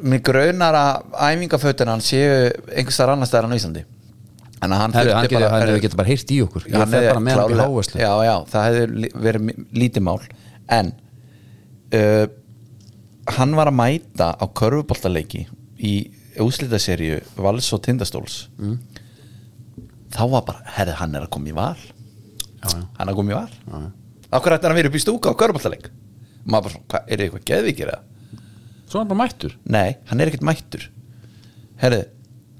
Speaker 2: Mér graunar að æfingafötin hann séu einhvers þar annars þar á Íslandi En að hann
Speaker 1: Herru, hann
Speaker 2: þurfti
Speaker 1: getur
Speaker 2: bara-
Speaker 1: hann hefur getur bara heyrt í okkur ég
Speaker 2: Hann
Speaker 1: fer
Speaker 2: hefði
Speaker 1: bara með hann upp í
Speaker 2: klárlega-
Speaker 1: hávæslu
Speaker 2: Já, já, það hefði li- verið mi- lítið mál En uh, Hann var að mæta á körfuboltaleiki í úslitaserju Vals og Tindastóls
Speaker 1: Mm.
Speaker 2: Þá var bara, herði, hann er að koma í val
Speaker 1: já.
Speaker 2: Hann er að koma í val já, já. Akkur ætti hann að vera upp í stúka á körfuboltaleik Maður bara, svona, hvað, er þið eitthvað geðvikið það?
Speaker 1: Svo hann bara mættur
Speaker 2: Nei, hann er ekkert mættur Herði,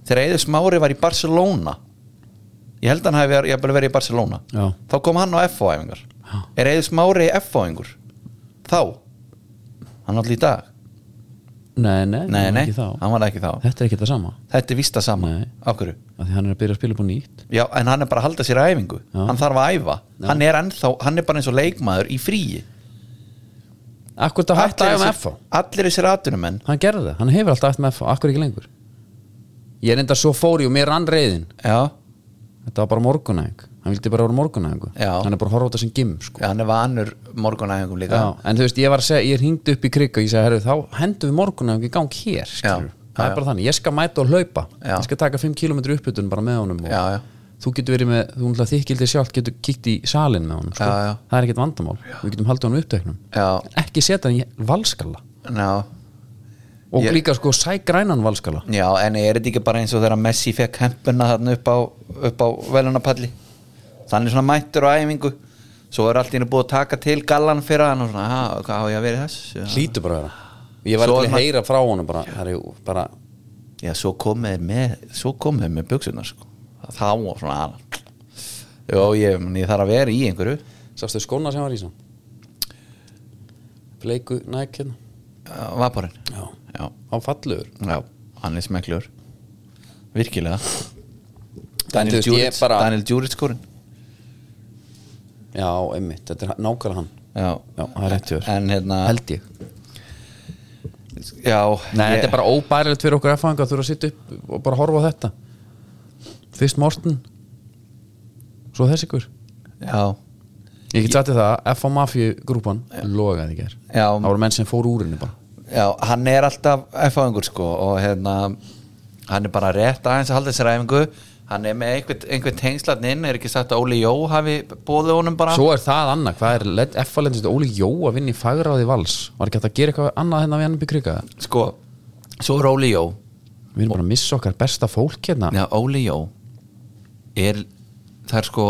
Speaker 2: þegar Eður Smári var í Barcelona Ég held að hann hafi verið- jafnvel verið í Barcelona
Speaker 1: Já.
Speaker 2: Þá kom hann á FO-æfingar Er Eður Smári í FO-æfingur? Þá Hann allir í dag
Speaker 1: Nei, nei,
Speaker 2: Nei,
Speaker 1: hann var
Speaker 2: nei,
Speaker 1: ekki þá.
Speaker 2: hann var ekki þá
Speaker 1: Þetta er ekki það sama
Speaker 2: Þetta er vista
Speaker 1: Nei.
Speaker 2: sama Af hverju?
Speaker 1: af því hann er að byrja að spila upp á nýtt
Speaker 2: Já, en hann er bara að halda sér að æfingu
Speaker 1: Já.
Speaker 2: Hann þarf að æfa
Speaker 1: Já.
Speaker 2: hann er, ennþá, hann er bara eins og leikmaður í fríi
Speaker 1: Akkur þetta hætti að æfa með FH
Speaker 2: allir þessir atunumenn
Speaker 1: Hann gerði það, hann hefur alltaf æft með FH, akkur ekki lengur Ég er enda svo fóri og mér rann reyðin
Speaker 2: Já,
Speaker 1: Þetta var bara morgunæðing Hann vildi bara vera morgunæðingu
Speaker 2: Já.
Speaker 1: Hann er bara að horfa á þetta sem gym sko.
Speaker 2: hann er vanur morgunæfingum líka
Speaker 1: Já, en þú veist, ég var að segja, ég hringdi upp í krikk og ég segi, herru, þá hendum við morgunum í gang hér, skilur
Speaker 2: Já,
Speaker 1: það
Speaker 2: já,
Speaker 1: er bara þannig, ég skal mæta og hlaupa
Speaker 2: Já.
Speaker 1: ég skal taka 5 km upphutun bara með honum og
Speaker 2: Já, já.
Speaker 1: þú getur verið með, þú náttúrulega þykildi sjálf getur kíkt í salin með honum, sko.
Speaker 2: Já, já.
Speaker 1: það er ekkert vandamál við getum haldið honum uppteknum
Speaker 2: Já.
Speaker 1: ekki setja hann í valskalla
Speaker 2: Já.
Speaker 1: og
Speaker 2: Ég-
Speaker 1: líka sko sægrænan valskalla
Speaker 2: Já, en er þetta ekki bara eins og þegar Messi fekk hempuna þarna upp á, upp á velunapalli þannig svona mættur og æfingu svo er allt í henni búið að taka til gallan fyrir hann og svona, ha, hvað á ég að vera í þessu Já.
Speaker 1: hlýtu bara að vera ég var
Speaker 2: Svo
Speaker 1: til
Speaker 2: er
Speaker 1: að
Speaker 2: maður-
Speaker 1: heyra frá honum bara, herru, bara
Speaker 2: Já, svo komið þeir með svo komið þeir með buksunar sko. þá og svona "Ah, Jó, ég, menn, ég þarf að vera í einhverju
Speaker 1: sástu skóna sem var í svo bleiku næk hérna
Speaker 2: uh, vaporinn
Speaker 1: Já.
Speaker 2: Já.
Speaker 1: á fallugur
Speaker 2: Já, hann er smeklur virkilega
Speaker 1: En þú
Speaker 2: Daniel
Speaker 1: veist, ég
Speaker 2: Djuric
Speaker 1: bara-
Speaker 2: Daniel Djuric skorinn
Speaker 1: Já, einmitt, þetta er nákvæmlega hann
Speaker 2: Já,
Speaker 1: Já, það er rétt hjá þér.
Speaker 2: En hérna
Speaker 1: Held ég
Speaker 2: Já
Speaker 1: Nei,
Speaker 2: ég-
Speaker 1: þetta er bara óbærilegt fyrir okkur F-fanga Þú eru að sitja upp og bara horfa á þetta Fyrst Morten Svo þess ykkur
Speaker 2: Já,
Speaker 1: Ég get sagt þér það, F.A. Mafíu grúpan Logaði í ger
Speaker 2: Já.
Speaker 1: Það voru menn sem fóru úr henni bara
Speaker 2: já hann er alltaf F-áðingur sko og hérna hann er bara rétt aðeins að halda þessari æfingu hann er með einhvern einhver tengslarn inn er ekki sagt að Óli Jó hafi bóðið honum bara
Speaker 1: Svo er það annað, hvað er F.A. lendist Óli Jó að vinna í fagráði vals Var ekki hægt að gera eitthvað annað hennar við hann byggur ykkur
Speaker 2: sko, svo er Óli Jó
Speaker 1: Við erum bara að missa okkar besta fólk hérna
Speaker 2: Já, Óli Jó er, það er sko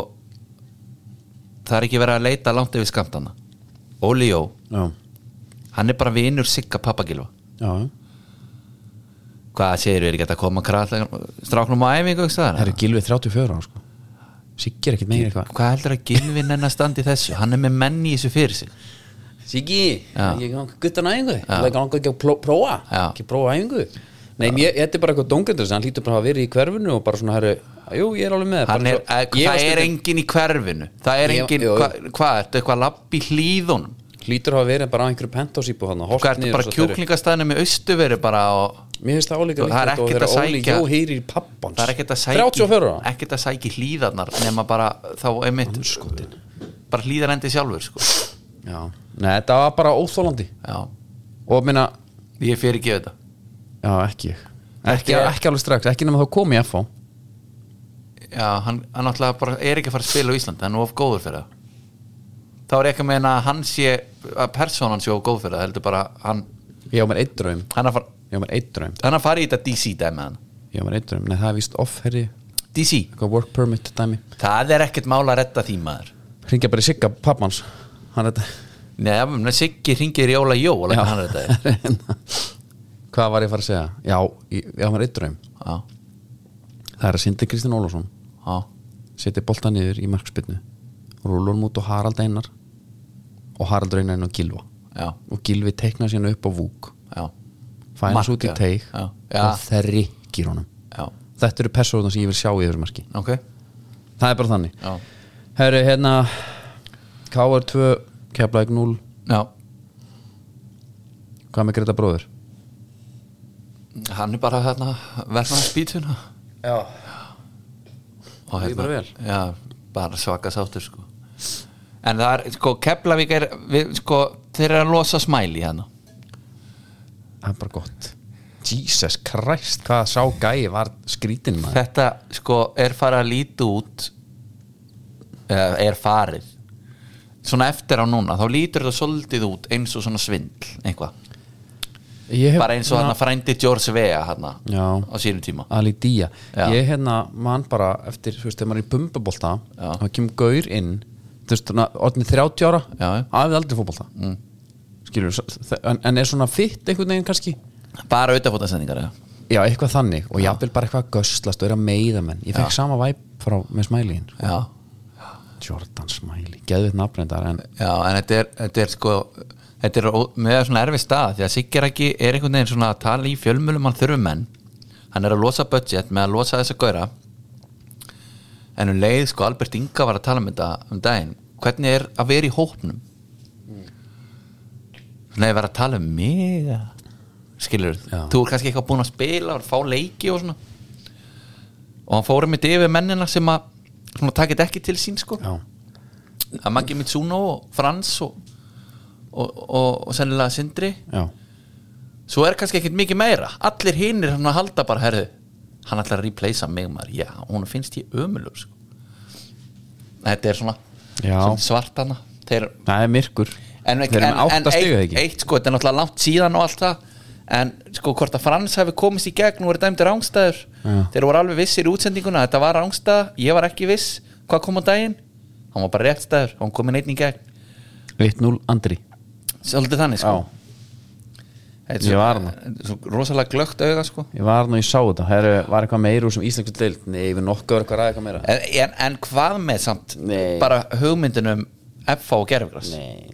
Speaker 2: það er ekki verið að leita langt yfir skamtana Óli Jó,
Speaker 1: Já,
Speaker 2: hann er bara vinur Sigga Pappagilva
Speaker 1: já
Speaker 2: hvað segir við, er ekki hægt að koma krall stráknum á æfingu, einhvers staðar?
Speaker 1: Það eru gilvið 34 ára sko Siggi er ekkert meira eitthvað
Speaker 2: hvað heldur að Gylfi nennar standi í þessu hann er með menn í þessu fyrir sig
Speaker 1: Siggi,
Speaker 2: Já.
Speaker 1: ég gangi guttan æfingu ég gangi ekki að pló- prófa
Speaker 2: Já.
Speaker 1: ekki prófa æfingu Nei, mér, þetta er bara eitthvað dóngendur hann hlýtur bara að hafa verið í hverfinu og bara svona herru, jú, ég er alveg með
Speaker 2: Hann
Speaker 1: Bara
Speaker 2: er,
Speaker 1: svo-
Speaker 2: að,
Speaker 1: Ég var
Speaker 2: það er
Speaker 1: stundum-
Speaker 2: engin í hverfinu það er
Speaker 1: Ég-
Speaker 2: engin,
Speaker 1: jú, jú.
Speaker 2: hvað hva, ertu eitthvað lapp í hlýðunum
Speaker 1: Hlýtur að hafa verið bara á einhverju pentásípu hann
Speaker 2: hvað ertu bara kjúklingastæðinu með austuveri bara og
Speaker 1: Mér finnst það álíka
Speaker 2: Það er
Speaker 1: líklegt og
Speaker 2: ekkert að
Speaker 1: þegar Óli
Speaker 2: sækja-
Speaker 1: Jó heyrir í pappans
Speaker 2: það er ekkert að
Speaker 1: 34
Speaker 2: sæki
Speaker 1: ára
Speaker 2: ekkert að sæki hlýðarnar nema bara þá einmitt Skotin. bara hlýðarendi sjálfur sko.
Speaker 1: Já, Nei, þetta var bara óþólandi
Speaker 2: já,
Speaker 1: og minna,
Speaker 2: ég fyrir ekki þetta
Speaker 1: já, ekki ég. ekki, ekki alveg strax, ekki nema þá kom ég FH
Speaker 2: já, hann, hann náttúrulega bara er ekki að fara að spila á Íslandi hann er of góður fyrir það þá er ég ekki að meina að hann sé að persónan sé of góð fyrir það heldur bara hann,
Speaker 1: Ég á mér eitt draum
Speaker 2: hann að fara
Speaker 1: Ég á mér eitt draum
Speaker 2: hann að fara í þetta DC dæmi hann
Speaker 1: Ég á mér eitt draum Nei, það er víst off, herri
Speaker 2: DC,
Speaker 1: eitthvað work permit dæmi
Speaker 2: það er ekkert mál að redda því maður
Speaker 1: Ringja bara í Sigga, pappans Hann er þetta
Speaker 2: Nei, ég meina, Siggi ringir í Óla Jó og lætur hann
Speaker 1: <laughs>
Speaker 2: redda því.
Speaker 1: <laughs> Hvað var ég að fara að segja? Já, ég, ég á mér eitt draum
Speaker 2: Já,
Speaker 1: Það er að Sindri Kristinn Ólafsson
Speaker 2: já,
Speaker 1: Seti bolta niður í markspinnu Rúlur mút og Harald Einar Og Harald Raunar inn og Gilva
Speaker 2: já,
Speaker 1: Og Gilvi teikna sérna upp á vúk
Speaker 2: já,
Speaker 1: Fænas
Speaker 2: Marka.
Speaker 1: út í teik
Speaker 2: Já. Já.
Speaker 1: Og það rikkir honum
Speaker 2: já
Speaker 1: Þetta eru persóðuna sem ég vil sjá í þessu marki
Speaker 2: Ok,
Speaker 1: Það er bara þannig
Speaker 2: já,
Speaker 1: Herru, hérna KR 2, Keflæk 0
Speaker 2: já
Speaker 1: Hvað með Greta bróður?
Speaker 2: Hann er bara hérna verðan á spýtuna
Speaker 1: Já
Speaker 2: og hérna,
Speaker 1: Líður bara vel.
Speaker 2: Já, bara svaka sáttur sko En það er, sko, Keflavík er við, sko, þeir eru að losa smæli hérna
Speaker 1: það er bara gott Jesus Christ, hvað sá gæi var skrítin maður
Speaker 2: Þetta sko er farið að líti út eða er farið svona eftir á núna, þá lítur þetta svolítið út eins og svona svindl eitthvað,
Speaker 1: Ég hef-
Speaker 2: bara eins og hann frændi George Vea hann
Speaker 1: Já.
Speaker 2: á sínum tíma
Speaker 1: Ali Día,
Speaker 2: Já.
Speaker 1: ég hérna mann bara eftir, þú veist, þegar maður er í bumbubolta
Speaker 2: Já.
Speaker 1: þá kemur gaur inn þú veist, þannig að orðin 30 ára
Speaker 2: Já, já.
Speaker 1: hafið aldrei fótbolta mm. skilur, en, en er svona fitt einhvern veginn kannski
Speaker 2: bara auðvitaðfótasendingar
Speaker 1: já, eitthvað þannig, og jafnvel bara eitthvað að göslast og er að meiða menn, ég fekk sama væp frá með smæliðin, sko.
Speaker 2: já,
Speaker 1: Jordan smæli geðvitt nafnrendar, en
Speaker 2: já, en þetta er, þetta er sko þetta er ó- með svona erfið stað því að Siggi er ekki, er einhvern veginn svona að tala í fjölmjölum hann þurfum menn hann er að losa budget með að losa þess að góra en um leið sko Albert Inga var að tala um þetta um daginn hvernig er að vera í hópnum svona ég var að tala um mig eða- skilur,
Speaker 1: Já.
Speaker 2: þú er kannski eitthvað búin að spila og fá leiki og svona og hann fórum mitt yfir mennina sem að svona takit ekki til sín sko
Speaker 1: Já.
Speaker 2: að Maggi Mitsuno og Frans og, og, og, og sennilega Sindri
Speaker 1: já,
Speaker 2: svo er kannski ekkert mikið meira allir hinir hann að halda bara herðu hann ætlar að replacea mig maður já, hún finnst ég ömulur sko. þetta er svona,
Speaker 1: Já.
Speaker 2: svona svartana þeir,
Speaker 1: það er myrkur
Speaker 2: en,
Speaker 1: þeir eru
Speaker 2: en,
Speaker 1: með
Speaker 2: en
Speaker 1: átta stiga,
Speaker 2: eitt,
Speaker 1: ekki?
Speaker 2: eitt sko, þetta er náttúrulega langt síðan og allt það en sko hvort að Frans hafi komist í gegn og verið dæmdur rángstæður
Speaker 1: Já.
Speaker 2: þeir voru alveg vissir í útsendinguna þetta var rángstæða, ég var ekki viss hvað kom á daginn, hann var bara réttstæður hann kom inn einn í gegn
Speaker 1: 1-0 Andri
Speaker 2: svolítið þannig sko
Speaker 1: Já, Ég var þarna.
Speaker 2: svo rosalega glögt auga sko
Speaker 1: ég var nú, ég sá þetta Heru, Var eitthvað meira úr sem íslensku deild Nei, við nokkuð var eitthvað ræða eitthvað meira
Speaker 2: en, en, en hvað með samt
Speaker 1: Nei.
Speaker 2: bara hugmyndunum FH og gerfgras
Speaker 1: Nei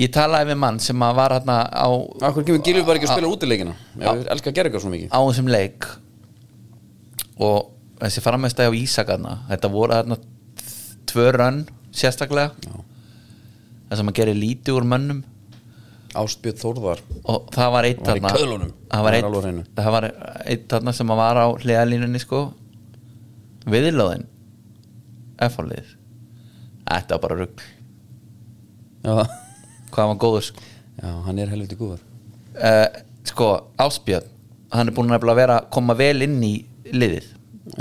Speaker 2: ég talaði við mann sem að var hérna á,
Speaker 1: Ah. Akkur kemur Gylfi bara ekki að spila útileikina Ég elskar að gera eitthvað svo mikið
Speaker 2: á þessum leik og þessi framestæði á Ísakarna þetta voru þarna tvö rönn sérstaklega
Speaker 1: Já.
Speaker 2: það sem að gera lítið úr mönnum
Speaker 1: Ástbjörn Þórðar
Speaker 2: og það var eitt
Speaker 1: Var í
Speaker 2: þarna-
Speaker 1: köðlunum.
Speaker 2: það var
Speaker 1: Það er alveg á hreinu.
Speaker 2: eitt, það var eitt þarna sem að var á hliðalínunni sko viðlóðin F-hólið þetta var bara rugg
Speaker 1: já.
Speaker 2: hvað hann var góður sko
Speaker 1: já, hann er helviti góður
Speaker 2: uh, sko Áspjörn hann er búin að vera að koma vel inn í liðið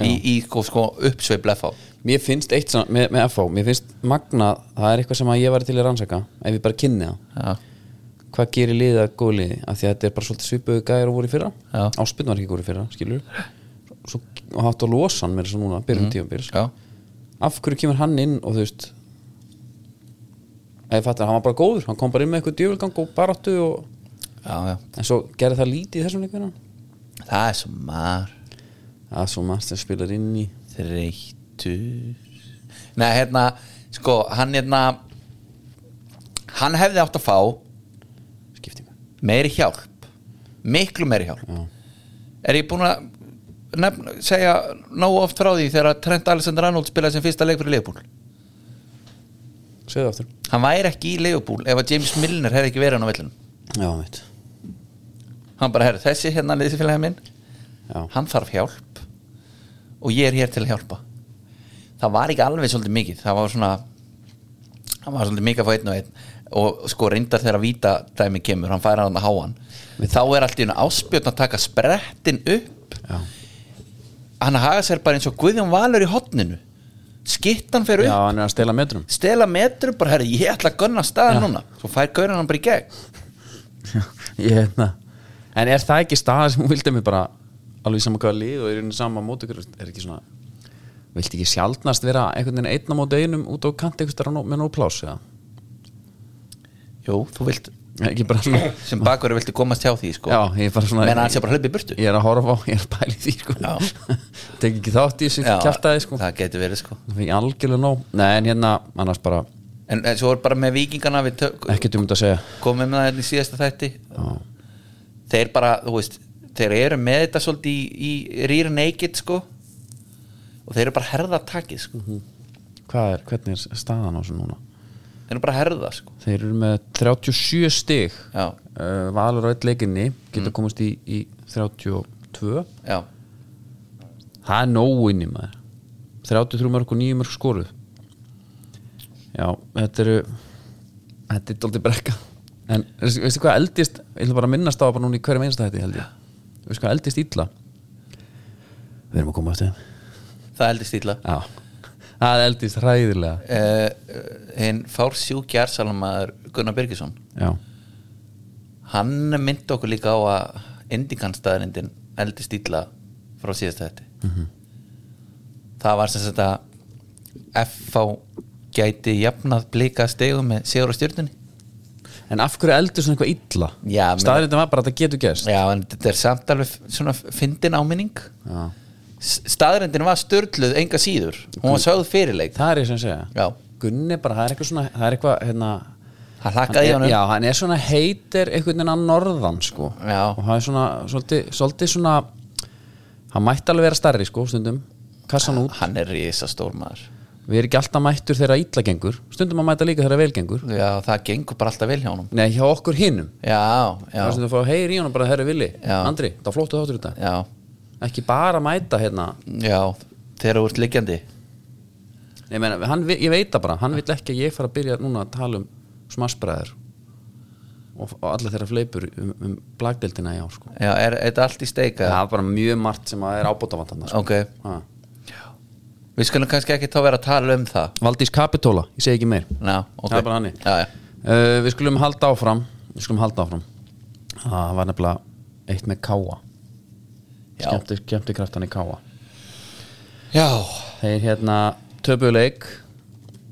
Speaker 2: í, í sko, sko uppsveif blefa
Speaker 1: Mér finnst eitt svona, með, með FH, mér finnst magna það er eitthvað sem að ég var til að rannsaka ef ég bara kynni það
Speaker 2: já,
Speaker 1: hvað gerir liðið að góðu liði af því að þetta er bara svolítið svipuðu gæðir og voru í fyrra
Speaker 2: Já.
Speaker 1: áspinn var ekki góður í fyrra, skilur svo, og hátt á losan mér svo núna
Speaker 2: Mhm.
Speaker 1: byrjum mm.
Speaker 2: já,
Speaker 1: af hverju kemur hann inn og þú veist eða fattar, hann var bara góður hann kom bara inn með eitthvað djöfulgang og baráttu og,
Speaker 2: já, já
Speaker 1: en svo gerði það lítið í þessum leikuna
Speaker 2: það er svo mar
Speaker 1: að svo maður sem spilar inn í
Speaker 2: þreytur nei hérna sko hann hérna hann hefði átt að fá
Speaker 1: skiptingu
Speaker 2: meiri hjálp miklu meiri hjálp
Speaker 1: Já.
Speaker 2: er ég búin að nefna, segja nógu oft frá því þegar Trent Alexander-Arnold spilaði sem fyrsta leik fyrir leikbúl
Speaker 1: segðu það aftur
Speaker 2: hann væri ekki í Liverpool ef að James Milner hefði ekki verið hann á vellunum
Speaker 1: já, veit
Speaker 2: hann bara, herri, þessi hérna liðsfélagi minn
Speaker 1: já,
Speaker 2: hann þarf hjálp og ég er hér til að hjálpa það var ekki alveg svolítið mikið það var svona hann var svolítið mikið að fá einn og einn og sko reyndar þegar að víta dæmi kemur hann færa hann að háan þá er allt í einu áspjötn að taka sprettin upp
Speaker 1: já.
Speaker 2: hann haga sér bara eins og Guðjón Valur í hotninu skittan fer upp
Speaker 1: já hann er að stela metrum
Speaker 2: stela metru bara herri ég ætla að gunna staðan núna svo fær gaurin hann bara í gegn
Speaker 1: ég hefna en er það ekki staða sem hún vildi mig bara alveg saman hvaða lið og er einu sama mót ykkur er ekki svona vildi ekki sjaldnast vera einhvern veginn einna mót einum út á kanti einhvers þar með nóg plás eða
Speaker 2: jú þú vilt
Speaker 1: ekki bara <laughs> svona
Speaker 2: sem bakverður viltu komast hjá því sko.
Speaker 1: já ég er bara svona
Speaker 2: menn að hann sé bara hlaupið í burtu
Speaker 1: ég er að horfa á, ég er að pæli því sko.
Speaker 2: Já.
Speaker 1: <laughs> tek ekki þátt í þessu
Speaker 2: Já,
Speaker 1: kjartaði sko.
Speaker 2: það getur verið sko
Speaker 1: það fikk algjörlega nóg nei en hérna annars bara
Speaker 2: en, en svo er bara með vikingana við tök,
Speaker 1: ekkert um þetta að segja
Speaker 2: komum með það hérna í síðasta þætti
Speaker 1: Já.
Speaker 2: þeir bara, þú veist þeir eru með þetta svolítið í, í rýra naked sko og þeir eru bara að herða takið sko
Speaker 1: hvað er, hvernig er staðan á þessu núna
Speaker 2: þeir eru bara að herða sko
Speaker 1: þeir eru með 37 stig
Speaker 2: Já.
Speaker 1: uh, valur á eitt leikinni getur komast í, í 32
Speaker 2: já,
Speaker 1: það er nógu inn í maður 33 mörg og 9 mörg skoruð já, þetta eru þetta er dólti brekka en veistu veistu hvað eldist ég ætla bara að minnast á það bara núna í hverjum einsta þetta held ég veistu hvað eldist illa við erum að koma eftir þeim.
Speaker 2: það heldur stíla
Speaker 1: já, það eldist hræðilega
Speaker 2: uh, hinn fár sjúkjarsalamaður Gunnar Birgisson
Speaker 1: já,
Speaker 2: hann myndi okkur líka á að indikanstaðarindin eldi stíla frá síðast þetta það var sem sagt að FH gæti jafnað blika stegu með sigur á stjórnunni
Speaker 1: en af hverju eldist svona eitthvað
Speaker 2: Já,
Speaker 1: illa
Speaker 2: menn-
Speaker 1: staðrindin var bara að þetta getur gerst
Speaker 2: já en þetta er samt alveg svona fyndin áminning
Speaker 1: já.
Speaker 2: staðarindin var störluð enga síður hún var sögð fyrirleik
Speaker 1: það er ég sem segja
Speaker 2: já,
Speaker 1: Gunni bara, það er eitthvað svona það er eitthvað, hérna
Speaker 2: hann hakkaði í
Speaker 1: hann
Speaker 2: honum
Speaker 1: er, já, hann er svona heitir einhvern veginn að norðan sko.
Speaker 2: Já.
Speaker 1: og hann er svona, svolítið, svolítið svona hann mætti alveg vera starri sko, stundum, kassan út
Speaker 2: hann er risastór maður
Speaker 1: við erum ekki alltaf mættur þegar illa gengur stundum að mæta líka þegar vel gengur
Speaker 2: já, það gengur bara alltaf vel hjá honum
Speaker 1: nei, hjá okkur hinum
Speaker 2: já,
Speaker 1: það
Speaker 2: já,
Speaker 1: er stundum að fá heyri í honum bara, herri villi,
Speaker 2: Já.
Speaker 1: Andri, þá flóttu þáttur þetta
Speaker 2: já,
Speaker 1: ekki bara mæta hérna
Speaker 2: já þegar þú ert liggjandi
Speaker 1: nei, meni, hann, vi- ég veit það bara, hann vil ekki að ég fara að byrja núna að tala um smassbræður og, og alla þeirra fleipur um, um blagdeldina í ár sko.
Speaker 2: Já, er er þetta allt í steika?
Speaker 1: það er bara mjög margt sem að er ábótavandana sko.
Speaker 2: Ok,
Speaker 1: Ha.
Speaker 2: við skulum kannski ekki þá vera að tala um það
Speaker 1: Valdís Kapitóla, ég segi ekki meir
Speaker 2: Ná, ok
Speaker 1: Það er bara þannig.
Speaker 2: Já, já,
Speaker 1: uh, Við skulum halda áfram Við skulum halda áfram Það var nefnilega eitt með Káa
Speaker 2: Já.
Speaker 1: Skemmti, skemmti kraftan í Káa
Speaker 2: já,
Speaker 1: Þeir hérna töpuleik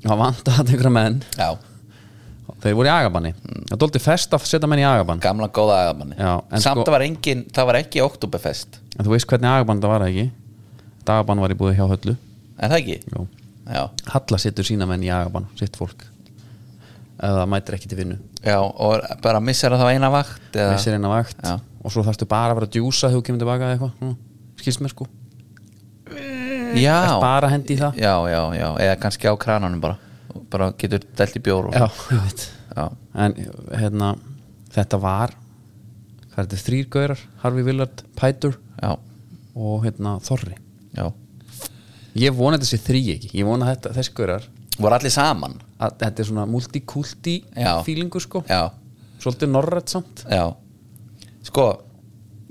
Speaker 1: Það vanda hann einhverja menn
Speaker 2: já.
Speaker 1: Þeir voru í agabanni
Speaker 2: Mm.
Speaker 1: Það dólti fest að setja menn í agabann
Speaker 2: gamla góða agamanni
Speaker 1: Já, en
Speaker 2: Samt
Speaker 1: sko-
Speaker 2: var engin, það var ekki oktoberfest
Speaker 1: En þú veist hvernig agabann það var ekki Þetta agabann var í búið hjá höllu
Speaker 2: En það ekki?
Speaker 1: Jó.
Speaker 2: Já,
Speaker 1: Halla setur sína menn í agabann Sitt fólk Eða mætir ekki til vinnu
Speaker 2: já, og bara missar að það var eina vakt eða...
Speaker 1: missir eina vakt
Speaker 2: Já.
Speaker 1: og svo þarfstu bara að vera að djúsa þegar þú kemur tilbaka eða eitthvað svona, skilst mér Hm, sko
Speaker 2: já,
Speaker 1: Ert bara að hendi í það
Speaker 2: já, já, já, eða kannski á krananum bara bara getur delt í bjór og,
Speaker 1: Já, <laughs> ég veit
Speaker 2: já,
Speaker 1: En hérna, þetta var Hvað er þetta, þrýr gaurar Harfi Willard, Pætur
Speaker 2: já,
Speaker 1: og hérna Þorri
Speaker 2: já
Speaker 1: Ég vona þetta sé þrý ekki Ég vona þetta, þessi gaurar
Speaker 2: voru allir saman
Speaker 1: að þetta er svona multikulti
Speaker 2: Já.
Speaker 1: feelingu sko
Speaker 2: já,
Speaker 1: Svolítið norrætt samt
Speaker 2: já sko,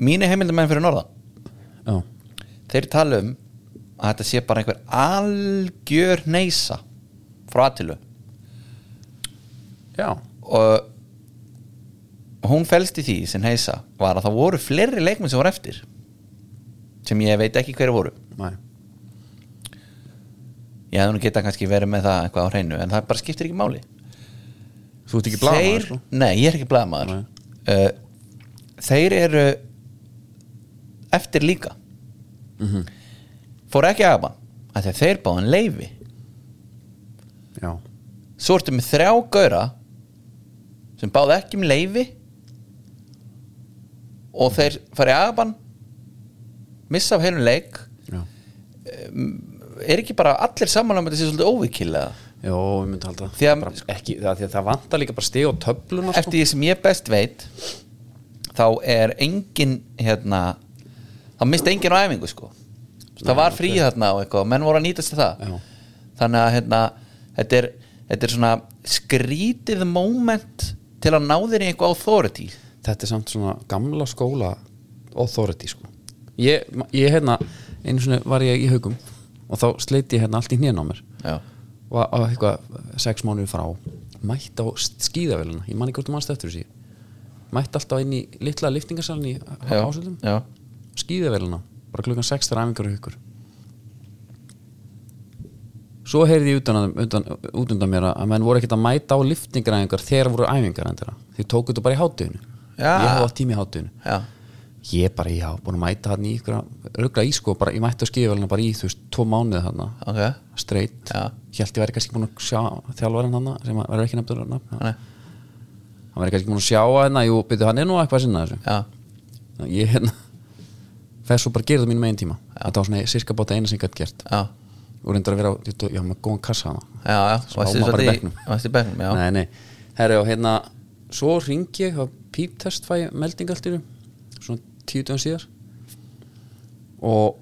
Speaker 2: mínu heimildamenn fyrir norðan
Speaker 1: Já,
Speaker 2: þeir tala um að þetta sé bara einhver algjör neysa frá aðtilu
Speaker 1: já,
Speaker 2: og hún fælst í því sem heisa var að það voru fleiri leikmenn sem voru eftir sem ég veit ekki hverju voru
Speaker 1: næ
Speaker 2: ég hefði nú geta kannski verið með það eitthvað á hreinu en það bara skiptir ekki máli
Speaker 1: Þú ert ekki blaðmaður
Speaker 2: þeir,
Speaker 1: sko
Speaker 2: Nei, ég er ekki blaðamaður uh, Þeir eru eftir líka
Speaker 1: Mhm.
Speaker 2: fóru ekki að af því að þeir báðan leifi
Speaker 1: Já,
Speaker 2: svo ertu með þrjá gaura sem báðu ekki um leifi og þeir fari aðban missa af heilum leik
Speaker 1: já
Speaker 2: er ekki bara allir saman að þetta sé svolítið óvikilega
Speaker 1: Jó, ég myndi halda
Speaker 2: Því að-
Speaker 1: bara, ekki, það, því að það vantar líka bara stig á töfluna sko.
Speaker 2: eftir því sem ég best veit þá er engin hérna þá misti engin á æfingu sko það var frí þarna og eitthvað menn voru að nýtast til það
Speaker 1: Já.
Speaker 2: þannig að hérna þetta er, þetta er svona skrítið moment til að ná þér í eitthvað authority
Speaker 1: Þetta er samt svona gamla skóla authority sko Ég, ég hérna, einu svona var ég í haugum og þá sleiti ég hérna allt í hnén á mér
Speaker 2: já,
Speaker 1: og á eitthvað sex mánuði frá mætt á skíðavélina ég man ekki hvort þú manst eftir þessi mætt alltaf inn í litla liftingarsalni í
Speaker 2: já,
Speaker 1: ásöldum
Speaker 2: já,
Speaker 1: skíðavélina, bara klukkan 6 þegar æfingar og ykkur svo heyrði ég utan, að- utan, út undan mér að menn voru ekkert að mæta á liftingaræfingar þegar voru æfingar endara því tóku þetta bara í hátíðinu
Speaker 2: Já.
Speaker 1: ég hafði allt tími í hátíðinu
Speaker 2: já,
Speaker 1: ég bara, já, búin að mæta hann í ykkur rögla í sko, bara, ég mætti á skíðavélina bara í þú veist, tvo mánuði þarna
Speaker 2: ok
Speaker 1: straight
Speaker 2: Já.
Speaker 1: ég held ég væri kannski búin að sjá þjálfarinn hann sem að- verður ekki nefndur að nafn
Speaker 2: Nei.
Speaker 1: hann verður kannski búin að sjá hann jú, byrju hann er nú eitthvað að sinna þessu
Speaker 2: já,
Speaker 1: Þannig að ég hérna fer svo bara að gera það mínum einn tíma þetta var svona sirka báta eina sem ég gætt gert
Speaker 2: já,
Speaker 1: og reyndar að vera, á- ég tók- ég var með góðan kassa hana
Speaker 2: já, já
Speaker 1: Smá
Speaker 2: varstu
Speaker 1: maður bara í
Speaker 2: svolítið í-
Speaker 1: bekknum.
Speaker 2: varstu í bekknum, já,
Speaker 1: nei, nei, herri og hérna svo ringi ég, það var píptest fæ ég melding allt í einu, svona tíu dögum síðar og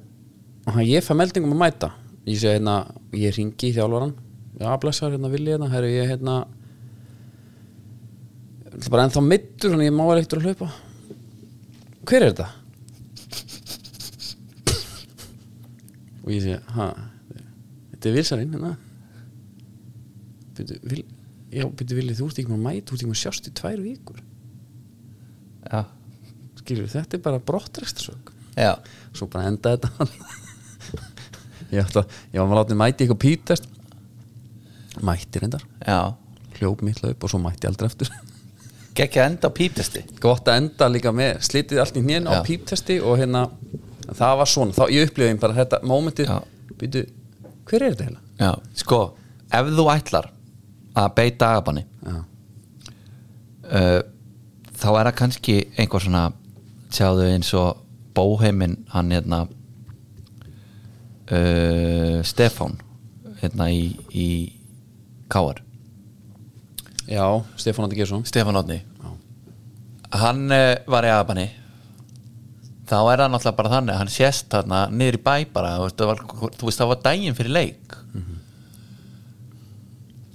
Speaker 1: og hann- ég fæ melding um að mæta ég segi hérna, ég ringi í þjálfaran já, blessar, hérna vil ég hérna herri, ég hérna ætla bara ennþá middur, þannig ég má vera eittur að hlaupa hver er þetta? og ég segi, hæ þetta er vilsarinn, hérna Byrju, vil, já, byrju, vilja, þú ert ekki með að mæta, þú ert ekki með að sjást í tvær vikur
Speaker 2: já,
Speaker 1: skilur, þetta er bara brottræstarsök
Speaker 2: já,
Speaker 1: svo bara enda þetta <laughs> ég ætla, ég var maður látið mæti eitthvað pítast mætti reyndar,
Speaker 2: já.
Speaker 1: hljóp mitt laup og svo mætti aldrei eftir
Speaker 2: gekk að enda á pítesti
Speaker 1: <laughs> gott að enda líka með slitið allt í hnén á
Speaker 2: Já.
Speaker 1: píptesti og hérna það var svona, þá ég upplifði bara þetta mómentið,
Speaker 2: Já.
Speaker 1: býtu hver er þetta hérna? heila?
Speaker 2: já, sko, ef þú ætlar að beita agabanni
Speaker 1: Já,
Speaker 2: uh, þá er það kannski einhver svona sjáðu eins og bóheimin hann hérna uh, Stefán hérna í, í Káar
Speaker 1: já Stefán Andi Gjesson
Speaker 2: Stefán Otni hann uh, var í Abani þá er það náttúrulega bara þannig að hann sést þarna niður í bæ bara þú veist, það var, þú veist það var daginn fyrir leik
Speaker 1: Mhm.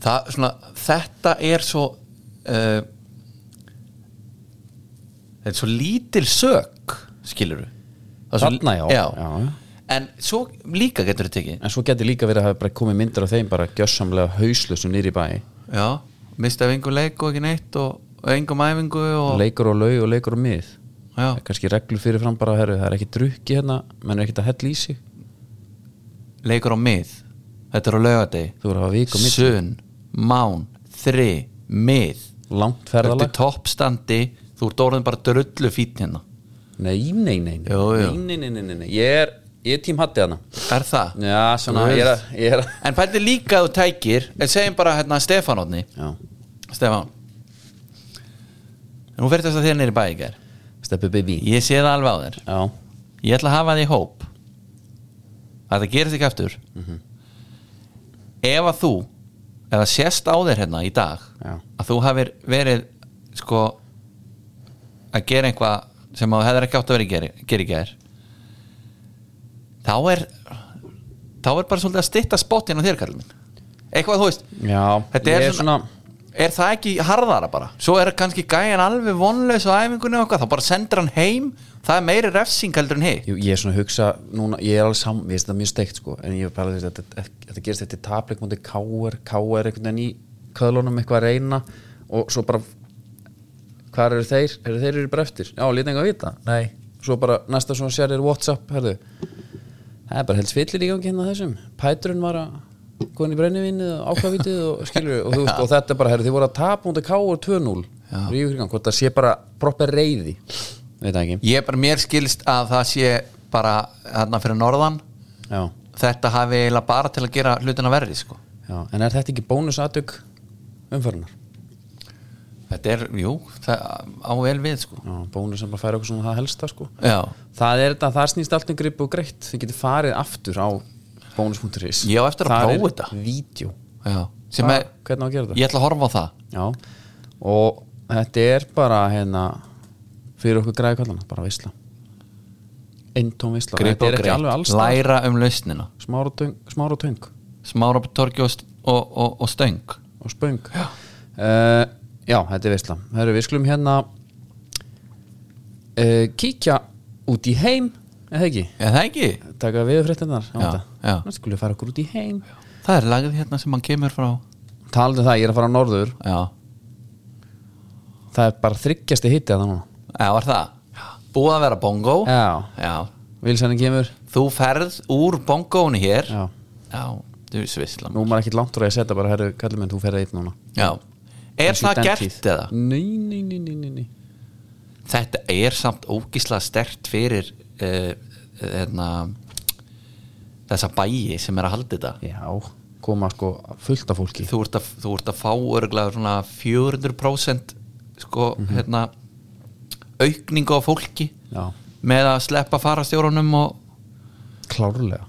Speaker 2: það, svona, þetta er svo uh, þetta er svo lítil sök skilur við
Speaker 1: Þarna, já,
Speaker 2: já.
Speaker 1: já, já.
Speaker 2: en svo líka getur þetta ekki
Speaker 1: en svo geti líka verið að hafa bara komið myndir af þeim bara gjössamlega hauslusum nýri bæ
Speaker 2: já, mista af engum leik og ekki neitt og, og engum æfingu og,
Speaker 1: leikur og laug og leikur og mið
Speaker 2: já,
Speaker 1: kannski reglu fyrir fram bara herru, það er ekki drukki hérna, menn er ekkert að hella í sig
Speaker 2: leikur á mið þetta er á laugardegi
Speaker 1: þú voru að hafa vik og mið,
Speaker 2: sun, mán, þri mið,
Speaker 1: langt
Speaker 2: Þú ert í
Speaker 1: ferðalag
Speaker 2: toppstandi þú ert orðin bara drullu fýtt hérna
Speaker 1: nei, nei, nei, nei.
Speaker 2: Jú, jú.
Speaker 1: Nei, nei, nei, nei, nei, ég er ég er tím hatti hérna
Speaker 2: er það?
Speaker 1: já, svona, ég er að, ég er að
Speaker 2: en fætti líka að þú tækir en segjum bara hérna Stefán Otni
Speaker 1: já,
Speaker 2: Stefán nú verður þess að þér niður í bæ í gær
Speaker 1: steppi baby
Speaker 2: ég sé það alveg á þér
Speaker 1: já,
Speaker 2: ég ætla að hafa þig í hóp að það gerist ekki aftur ef að þú ef það sést á þér hérna í dag
Speaker 1: Já.
Speaker 2: að þú hafir verið sko að gera eitthvað sem þú hefur ekki átt að vera að gera, gera í gær þá er þá er bara svolítið að stytta spottinn á þér kallum minn eitthvað þú veist
Speaker 1: Já,
Speaker 2: Þetta
Speaker 1: ég
Speaker 2: er svona, Er það ekki harðara bara? Svo er kannski gæjan alveg vonlaus á æfingunni og eitthvað, þá bara sendur hann heim það er meiri refsing heldur en hitt
Speaker 1: Jú, ég er svona að hugsa núna, ég er alveg saman, ég veist það er mjög steikt sko, en ég er bara að þetta, þetta, þetta gerist þetta tapleik mútið KR, KR einhvern veginn í köðlunum eitthvað að reyna og svo bara hvað eru þeir, eru þeir eru bara eftir já, lítið enga að vita, nei svo bara næsta svona sér er Whatsapp, herðu það er bara held svillir í gangi hérna á þessum Pæturinn var að góðin í brennivinnið og ákvafvitið og skilur og, þú veist, og þetta er bara, herðu, þið voru að tapa mútið KR 2-0 Rífur í gang, hvort það sé bara proper reyði, veit það ekki
Speaker 2: Ég er bara mér skilst að það sé bara hérna fyrir norðan
Speaker 1: já
Speaker 2: þetta hafi eiginlega bara til að gera hlutina verri sko.
Speaker 1: Já, en er þetta ekki bónusatök umförunar?
Speaker 2: Þetta er, jú, það á vel við sko.
Speaker 1: Já, bónus sem bara færa okkur svona það helsta sko.
Speaker 2: Já,
Speaker 1: Það er þetta, það snýst allt um grip og greitt þið getur farið aftur á bónus.is
Speaker 2: Ég á eftir að
Speaker 1: Þar
Speaker 2: prófa
Speaker 1: er
Speaker 2: þetta.
Speaker 1: Vídeó,
Speaker 2: já sem
Speaker 1: Hva-
Speaker 2: er,
Speaker 1: hvernig á að gera þetta?
Speaker 2: ég ætla að horfa á það
Speaker 1: Já, og þetta er bara hérna fyrir okkur græði kallana, bara veisla Eintóm veisla,
Speaker 2: Grip
Speaker 1: þetta
Speaker 2: og
Speaker 1: er ekki alveg
Speaker 2: greitt,
Speaker 1: alls staðar.
Speaker 2: læra um lausnina
Speaker 1: Smára og töng- smára og töng
Speaker 2: smára upp torki og, st- og, og, og stöng
Speaker 1: og spöng já. já, þetta er veistla Heru, við skulum hérna uh, kíkja út í heim eða ekki,
Speaker 2: Er það ekki?
Speaker 1: taka við fréttinnar
Speaker 2: Já, já.
Speaker 1: nú skulum við fara okkur út í heim
Speaker 2: Það er lagið hérna sem hann kemur frá
Speaker 1: talandi um það, ég er að fara á norður
Speaker 2: Já,
Speaker 1: það er bara þryggjasti hitti að það núna
Speaker 2: Já, var það? Búið að vera bongo
Speaker 1: já, vilsenni kemur
Speaker 2: Þú ferð úr bongóni hér
Speaker 1: já,
Speaker 2: Já, þú er svislam
Speaker 1: nú er maður ekkit langt úr að ég setja bara, herru, kallum minn, þú ferði eitt núna
Speaker 2: Já, er
Speaker 1: Kannski
Speaker 2: það
Speaker 1: í
Speaker 2: gert
Speaker 1: dentíð.
Speaker 2: eða?
Speaker 1: Nei, nei, nei, nei, nei, nei.
Speaker 2: Þetta er samt ógislega stert fyrir uh, hérna, þessa bæi sem er að halda þetta
Speaker 1: já, koma sko fullt af fólki
Speaker 2: Þú ert að, þú ert að fá örglega svona 400% sko,
Speaker 1: Mhm.
Speaker 2: hérna, aukningu á fólki
Speaker 1: já,
Speaker 2: með að sleppa farastjórunum og,
Speaker 1: klárlega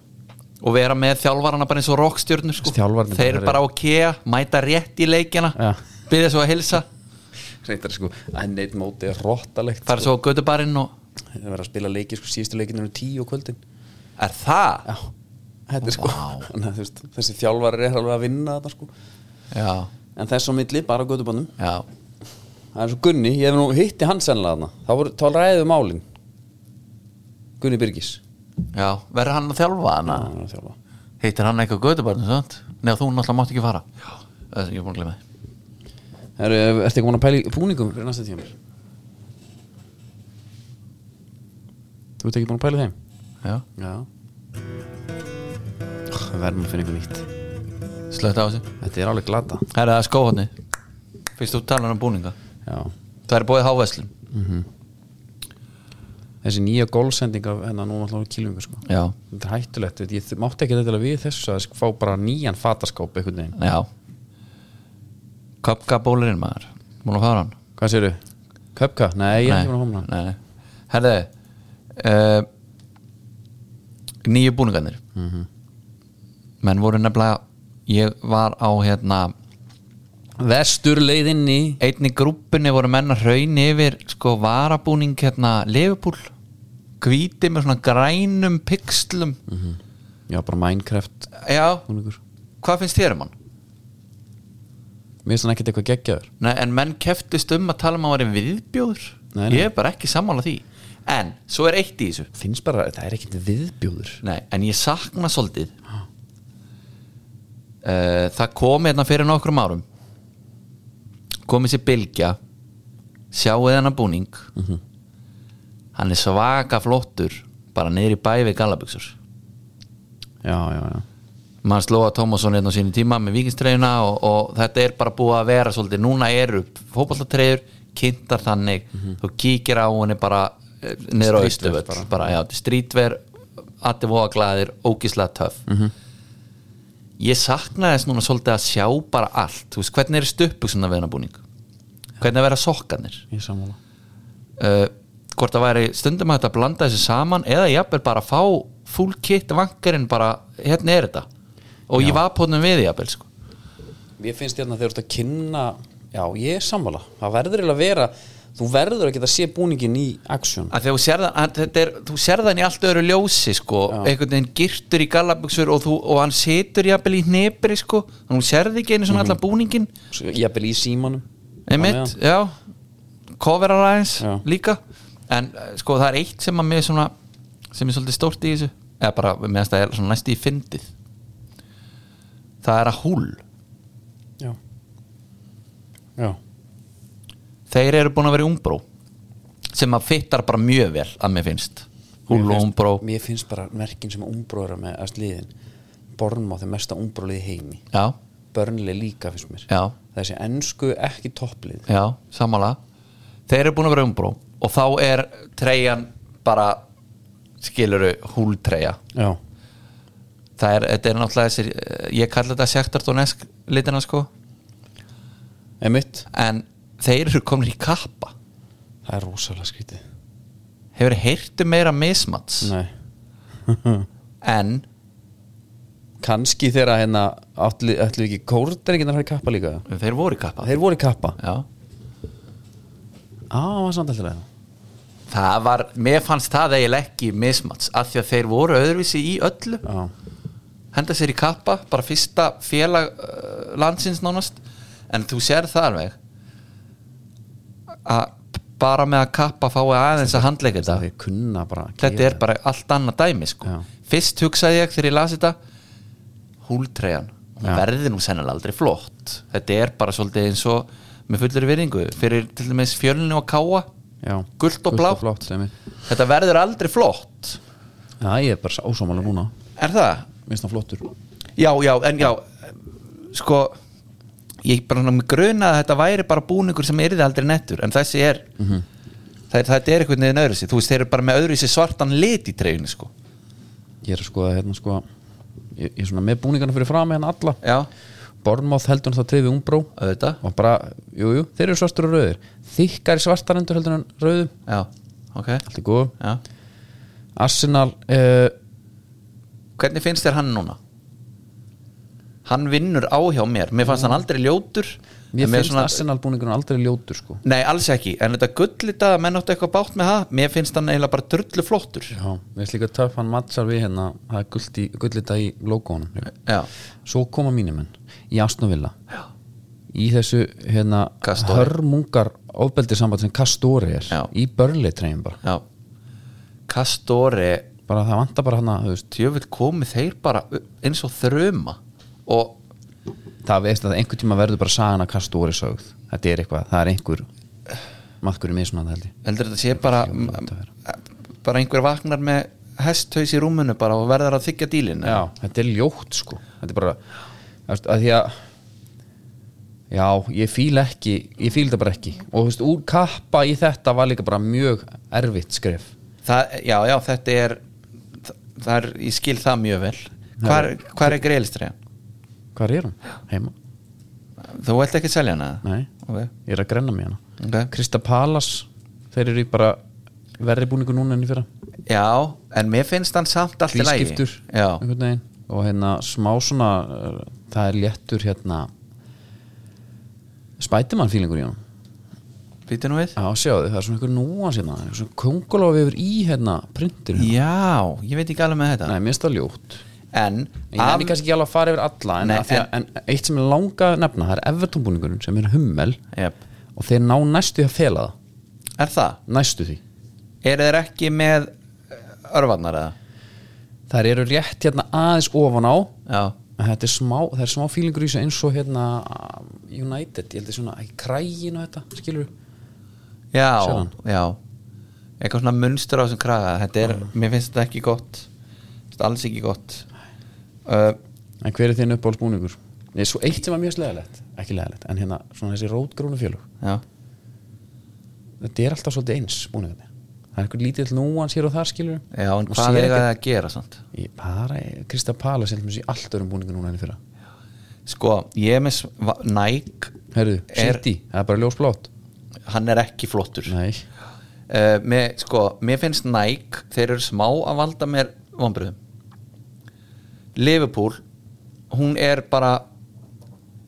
Speaker 2: og vera með þjálfarana bara eins og rockstjörnur sko.
Speaker 1: Þjálfarnir
Speaker 2: þeir
Speaker 1: bara-
Speaker 2: bara á kea, mæta rétt í leikina
Speaker 1: Já.
Speaker 2: byrja svo að hilsa
Speaker 1: reyndar sko, en neitt móti er rottalegt sko.
Speaker 2: fara svo á gödubarinn og
Speaker 1: Það verður að spila leiki sko síðustu leikinu eru tíu á kvöldin
Speaker 2: er það?
Speaker 1: Já, þetta er sko
Speaker 2: Vá.
Speaker 1: <laughs> Þannig að þú veist, Þessi þjálfarir er alveg að vinna þetta sko
Speaker 2: Já,
Speaker 1: En þess á milli, bara á gödubannum
Speaker 2: já,
Speaker 1: Það er svo Gunni, ég hef nú hitti hann sennilega þarna Þá, voru, þá ræðum málin Gunni Byrgis
Speaker 2: já verður hann að þjálfa hana?
Speaker 1: Hann er að þjálfa.
Speaker 2: heitir hann eitthvað gödubarinn svona? neða þú náttúrulega mátt ekki fara já. það sem ég er búin að glemja
Speaker 1: Herru, er- Ertu ekki búin að pæla í búningum fyrir næsta tíma? Þú ert ekki búin að pæla í þeim?
Speaker 2: já,
Speaker 1: Já Við verðum að finna ykkur nýtt
Speaker 2: slögt á þessu
Speaker 1: Þetta er alveg glata
Speaker 2: það er það skóhotni fyrst þú talar um búninga
Speaker 1: Já
Speaker 2: það er bóðið háveslun
Speaker 1: Þessi nýja gólsending af hennar nú alltaf kýlungu sko
Speaker 2: já,
Speaker 1: Þetta er hættulegt, þetta- ég mátti ekki þetta við þessu að fá bara nýjan fataskáp einhvern veginn.
Speaker 2: já köpkabólirinn maður múin að fara hann
Speaker 1: Hvað sérðu? Köpka? Nei, ég er ekki búin að hóma hann.
Speaker 2: nei, nei. Herðu uh, Nýju búningarnir
Speaker 1: Mhm.
Speaker 2: Menn voru nefnilega Ég var á hérna
Speaker 1: Vesturleiðinni
Speaker 2: Einni grúppinni voru menn að hraun yfir Sko varabúning hérna Leifupúl Hvíti með svona grænum pixlum
Speaker 1: Já, bara Minecraft
Speaker 2: Já,
Speaker 1: Mm. búningur.
Speaker 2: hvað finnst þér um hann?
Speaker 1: Mér finnst hann ekkert eitthvað geggjaður.
Speaker 2: Nei, en menn keftist um að tala um að hann var viðbjóður
Speaker 1: Nei, nei.
Speaker 2: Ég er bara ekki sammála því En, svo er eitt í þessu
Speaker 1: Finnst bara, það er ekkert viðbjóður.
Speaker 2: Nei, en ég sakna svolítið uh, Það kom hérna fyrir nokkrum árum komið sér bylgja sjáuð hennar búning hann er svaka flottur bara niður í bæ við gallabuxur
Speaker 1: Já, já, já.
Speaker 2: mann slóa Tómasson hérna á sínum tíma með vikingstreyjuna og, og þetta er bara búið að vera svolítið, núna eru fótballatreyjur kynntar þannig þú kíkir á henni bara eh, niður á
Speaker 1: Streetwear
Speaker 2: austufull bara. já, þetta er strítver, allir voga glæðir ógíslega töff ég saknaði þess núna svolítið að sjá bara allt, þú veist, hvernig er stuppbuxuna við hennar búning hvernig vera sokkanir
Speaker 1: Ég er sammála.
Speaker 2: Eh, uh, hvort það væri stundum hægt að blanda þessu saman eða jafnvel bara fá full kit vankarinn bara, hérna er þetta og ég var pólnum við í að sko.
Speaker 1: Ég finnst hérna þegar þú ert að kynna Já, ég er sammála Það verður eiginlega að vera Þú verður að geta sé búningin í action
Speaker 2: að þegar þú sérðan, að þetta er, þú sérðan í allt öðru ljósi sko, einhvern veginn girtur í gallabuxur og, þú, og hann situr jafnvel í hnepri sko, þannig að hún sérði ekki einu svona allan búningin,
Speaker 1: Jafnvel í símanum
Speaker 2: einmitt, já coverar aðeins
Speaker 1: Já.
Speaker 2: líka en eh, sko það er eitt sem að mér svona sem er svolítið stórt í þessu eða bara meðan það er svona næst í fyndið það er að húl
Speaker 1: Já Já
Speaker 2: þeir eru búin að vera í umbró sem að fittar bara mjög vel að mér finnst
Speaker 1: Mér
Speaker 2: húl og
Speaker 1: finnst-
Speaker 2: umbró
Speaker 1: Mér finnst bara merkin sem umbróður með að sliðin Bornmá þeir mesta umbróliði heimi
Speaker 2: já,
Speaker 1: Börnlega líka finnst mér
Speaker 2: Já.
Speaker 1: Þessi ennsku ekki topplið
Speaker 2: já, samanlega þeir eru búin að vera í umbró og þá er treyjan bara skiluru húltreyja
Speaker 1: Já
Speaker 2: það er, þetta er náttúrulega þessir eh, ég kalla þetta sektartónesk litina sko
Speaker 1: Einmitt
Speaker 2: en þeir eru komin í kappa
Speaker 1: Það er rosalega skrítið
Speaker 2: hefur heyrtu meira mismats
Speaker 1: Nei
Speaker 2: en
Speaker 1: Kanski þegar að hérna ætlu ætlu ekki kórdrenginar að fara í kappa líka
Speaker 2: þeir voru í kappa
Speaker 1: Þeir voru í kappa
Speaker 2: já.
Speaker 1: Á, það var samt alltaf leið
Speaker 2: það var, mér fannst það eiginlega ekki mismats af því að þeir voru öðruvísi í öllu
Speaker 1: Já,
Speaker 2: henda sér í kappa, bara fyrsta félag uh, landsins nánast en þú sér það alveg að bara með að kappa fái aðeins að handleika þetta
Speaker 1: það er kunna bara að
Speaker 2: þetta
Speaker 1: gera
Speaker 2: er bara allt annað dæmi sko.
Speaker 1: Já.
Speaker 2: fyrst hugsaði ég þegar ég las þetta húltreyjan hún
Speaker 1: Já.
Speaker 2: verði nú sennilega aldrei flott þetta er bara svolítið eins og með fullur virðingu fyrir til dæmis fjölunni og káa
Speaker 1: Já.
Speaker 2: gult og blátt
Speaker 1: blátt einmitt.
Speaker 2: þetta verður aldrei flott
Speaker 1: Já, ég er bara ásámála núna
Speaker 2: er það?
Speaker 1: Minnst það flottur
Speaker 2: já, já, en já sko ég bara svona með gruna að þetta væri bara búningur sem er aldrei nettur en þessi er mm -hmm. þetta er eitthvað neðin öðruvísi þú veist, þeir eru bara með öðruvísi svartan lit í treyjunni sko.
Speaker 1: Ég er sko að hérna sko Ég, ég er svona með búningarna fyrir fram með hann alla
Speaker 2: já,
Speaker 1: Bornmáð heldur hann það trefið umbró
Speaker 2: auðvitað
Speaker 1: Og bara, jú, jú, þeir eru svartur og rauðir Þykkari svartar endur heldur en rauðu
Speaker 2: Já, ok
Speaker 1: Allt er góð
Speaker 2: já.
Speaker 1: Arsenal uh,
Speaker 2: Hvernig finnst þér hann núna? Hann vinnur á hjá mér Mér fannst hann aldrei ljótur
Speaker 1: Mér
Speaker 2: En
Speaker 1: finnst
Speaker 2: svona-
Speaker 1: Arsenal búningarna aldrei ljótur sko
Speaker 2: Nei, alls ekki, en þetta gullita menn áttu eitthvað bátt með það, mér finnst hann eiginlega bara drullu flottur
Speaker 1: Já, mér finnst líka töff hann matchar við hérna Það er gult í- gullita í logounum
Speaker 2: Já,
Speaker 1: Svo koma mínumenn í Asnovilla í þessu hérna
Speaker 2: Kastori.
Speaker 1: hörmungar ofbeldi samband sem Kastori er
Speaker 2: Já.
Speaker 1: í Burnley treyjum bara
Speaker 2: já Kastori,
Speaker 1: bara það vantar bara hana, þú veist,
Speaker 2: tjöfull komið þeir bara u- eins og þruma og
Speaker 1: það veist að einhvern tíma verður bara sagan að Kastori sögð þetta er eitthvað, það er einhver maðkur í mismunandi held ég
Speaker 2: heldur þetta sé bara
Speaker 1: Jú, þetta er.
Speaker 2: bara einhver vaknar með hesthaus í rúmunu bara og verðar að þykja dílin
Speaker 1: Já, þetta er ljótt sko Þetta er bara þú veist, að Því að Já, ég fíl ekki Ég fíl það bara ekki Og þú veist, úr kappa í þetta var líka bara mjög erfitt skref
Speaker 2: það, já, já, þetta er það, það er, ég skil það mjög vel hvar, hvar er greiðlistreyjan?
Speaker 1: Hvar er hún? Heima?
Speaker 2: þú vilt ekki selja hana?
Speaker 1: Nei.
Speaker 2: okay.
Speaker 1: Ég er að grenna mér hana
Speaker 2: Okay.
Speaker 1: Krista Palas Þeir eru í bara verri búningu núna enn í fyrra
Speaker 2: já, en mér finnst hann samt allt í lagi
Speaker 1: Hlýskiptur
Speaker 2: já,
Speaker 1: einhvern veginn. Og hérna smá svona uh, Það er léttur hérna Spætimann fílingur í honum
Speaker 2: býtu nú við
Speaker 1: Já, sjáðu, það er svona einhver núans hérna einhver Svona kongulofi yfir í hérna printinu
Speaker 2: já, ég veit ekki alveg með þetta
Speaker 1: Nei, mér finnst það ljótt
Speaker 2: en,
Speaker 1: En Ég nenni kannski ekki alveg að fara yfir alla en,
Speaker 2: Nei,
Speaker 1: Nei, að, en, eitt sem ég langa að nefna Það er evertónbúningurinn sem er hummel
Speaker 2: yep.
Speaker 1: Og þeir ná næstu því að fela það
Speaker 2: er það?
Speaker 1: Næstu því
Speaker 2: eru þeir ekki með eh, örvarnar eða?
Speaker 1: Þær eru rétt hérna aðeins ofan á
Speaker 2: já,
Speaker 1: en Þetta er smá, það er smá fílingur í þessu eins og hérna United, ég held ég svona í krægin og þetta, skilur
Speaker 2: já,
Speaker 1: Sjáðu.
Speaker 2: já eitthvað svona munstur á þessum kraga þetta er,
Speaker 1: Mm.
Speaker 2: mér finnst þetta ekki gott Þetta er alls ekki gott uh,
Speaker 1: En hver er þinn uppáhaldsbúningur? Nei, svo eitt sem var mjög sleðalegt, ekki leðalegt En hérna, svona þessi rótgrónu félug
Speaker 2: já
Speaker 1: Þetta er alltaf svolítið eins búningarnir Það er einhver lítill núans hér og þar, skilur
Speaker 2: Já, en hvað er það að gera samt?
Speaker 1: Ég bara, Krista Pala sem þessi allt örum búningu núna enn í fyrra
Speaker 2: Sko, ég er með s- va- Nike
Speaker 1: Herðu,
Speaker 2: Er-
Speaker 1: City, það er bara ljósblátt
Speaker 2: hann er ekki flottur Eh,
Speaker 1: Nei,
Speaker 2: uh, með, sko, mér finnst Nike þeir eru smá að valda mér vonbröðum Liverpool hún er bara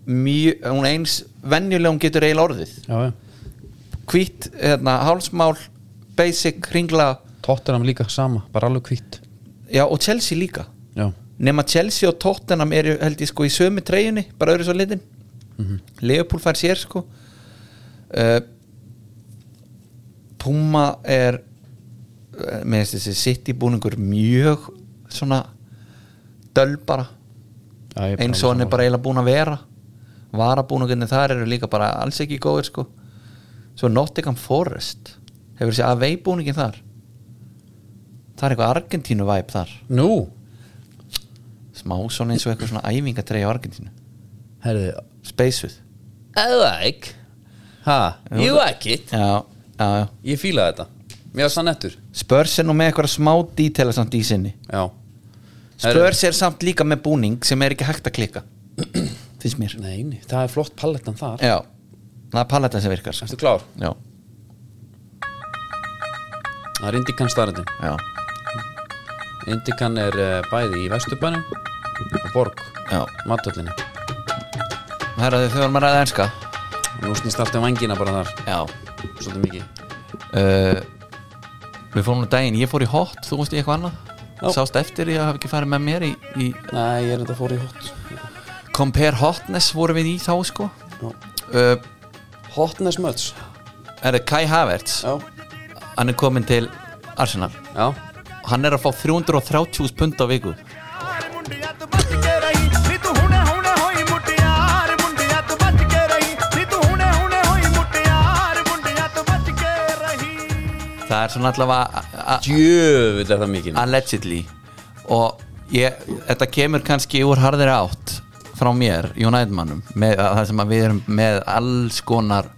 Speaker 2: mjög, hún er eins venjulega hún getur eiginlega orðið
Speaker 1: já, já.
Speaker 2: hvít, hérna, hálsmál basic, ringla
Speaker 1: Tottenham líka sama, bara alveg hvitt
Speaker 2: já, og Chelsea líka
Speaker 1: Já,
Speaker 2: nema Chelsea og Tottenham eru held ég sko í sömu treyjunni, bara öðru svo litin Leopold fær sér sko uh, Puma er eh, mér finnst þessi City búningur mjög svona döl bara,
Speaker 1: já ég
Speaker 2: eins og hann er bara eiginlega búin að vera varabúningunni þar eru líka bara alls ekki góðir sko svo Nottingham Forest hefur þessi AV búningin þar það er eitthvað Argentínu væp þar
Speaker 1: Nú,
Speaker 2: smá svona eins og eitthvað svona æfingatreyja á Argentínu
Speaker 1: herðu
Speaker 2: Spacesuit
Speaker 1: I like Ha, you like it
Speaker 2: já, já, já
Speaker 1: Ég fíla þetta, mér var sann ettur
Speaker 2: Spurs er nú með eitthvað smá dítela samt í sinni
Speaker 1: Já,
Speaker 2: Spurs er samt líka með búning sem er ekki hægt
Speaker 1: <clears throat>
Speaker 2: að klika finnst mér
Speaker 1: nei, nei, það er flott palettan þar
Speaker 2: já, það er paletta sem virkar sko.
Speaker 1: Ertu klár?
Speaker 2: já,
Speaker 1: Það er Indikan starðin
Speaker 2: já,
Speaker 1: Indikan er uh, bæði í Vesturbænum og Borg,
Speaker 2: já
Speaker 1: matöllinu
Speaker 2: herraðu þau varum að ræða enska
Speaker 1: Nú snýst allt um vangina bara þar,
Speaker 2: já
Speaker 1: svolítið mikið
Speaker 2: uh, við fórum nú daginn, ég fór í hot þú veist í eitthvað annað
Speaker 1: Já.
Speaker 2: sást eftir ég hafi ekki farið með mér í, í
Speaker 1: Nei, ég er þetta fór í hot
Speaker 2: Compare Hotness vorum við í þá sko uh,
Speaker 1: Hotness Mölds
Speaker 2: er það Kai Havertz
Speaker 1: Já,
Speaker 2: hann er komin til Arsenal
Speaker 1: já,
Speaker 2: hann er að fá 330 pund á viku það er svona allavega a- a-
Speaker 1: djöfull er það mikið
Speaker 2: allegedly og ég, þetta kemur kannski úr harðir átt frá mér, United mannum með að það sem að við erum með alls konar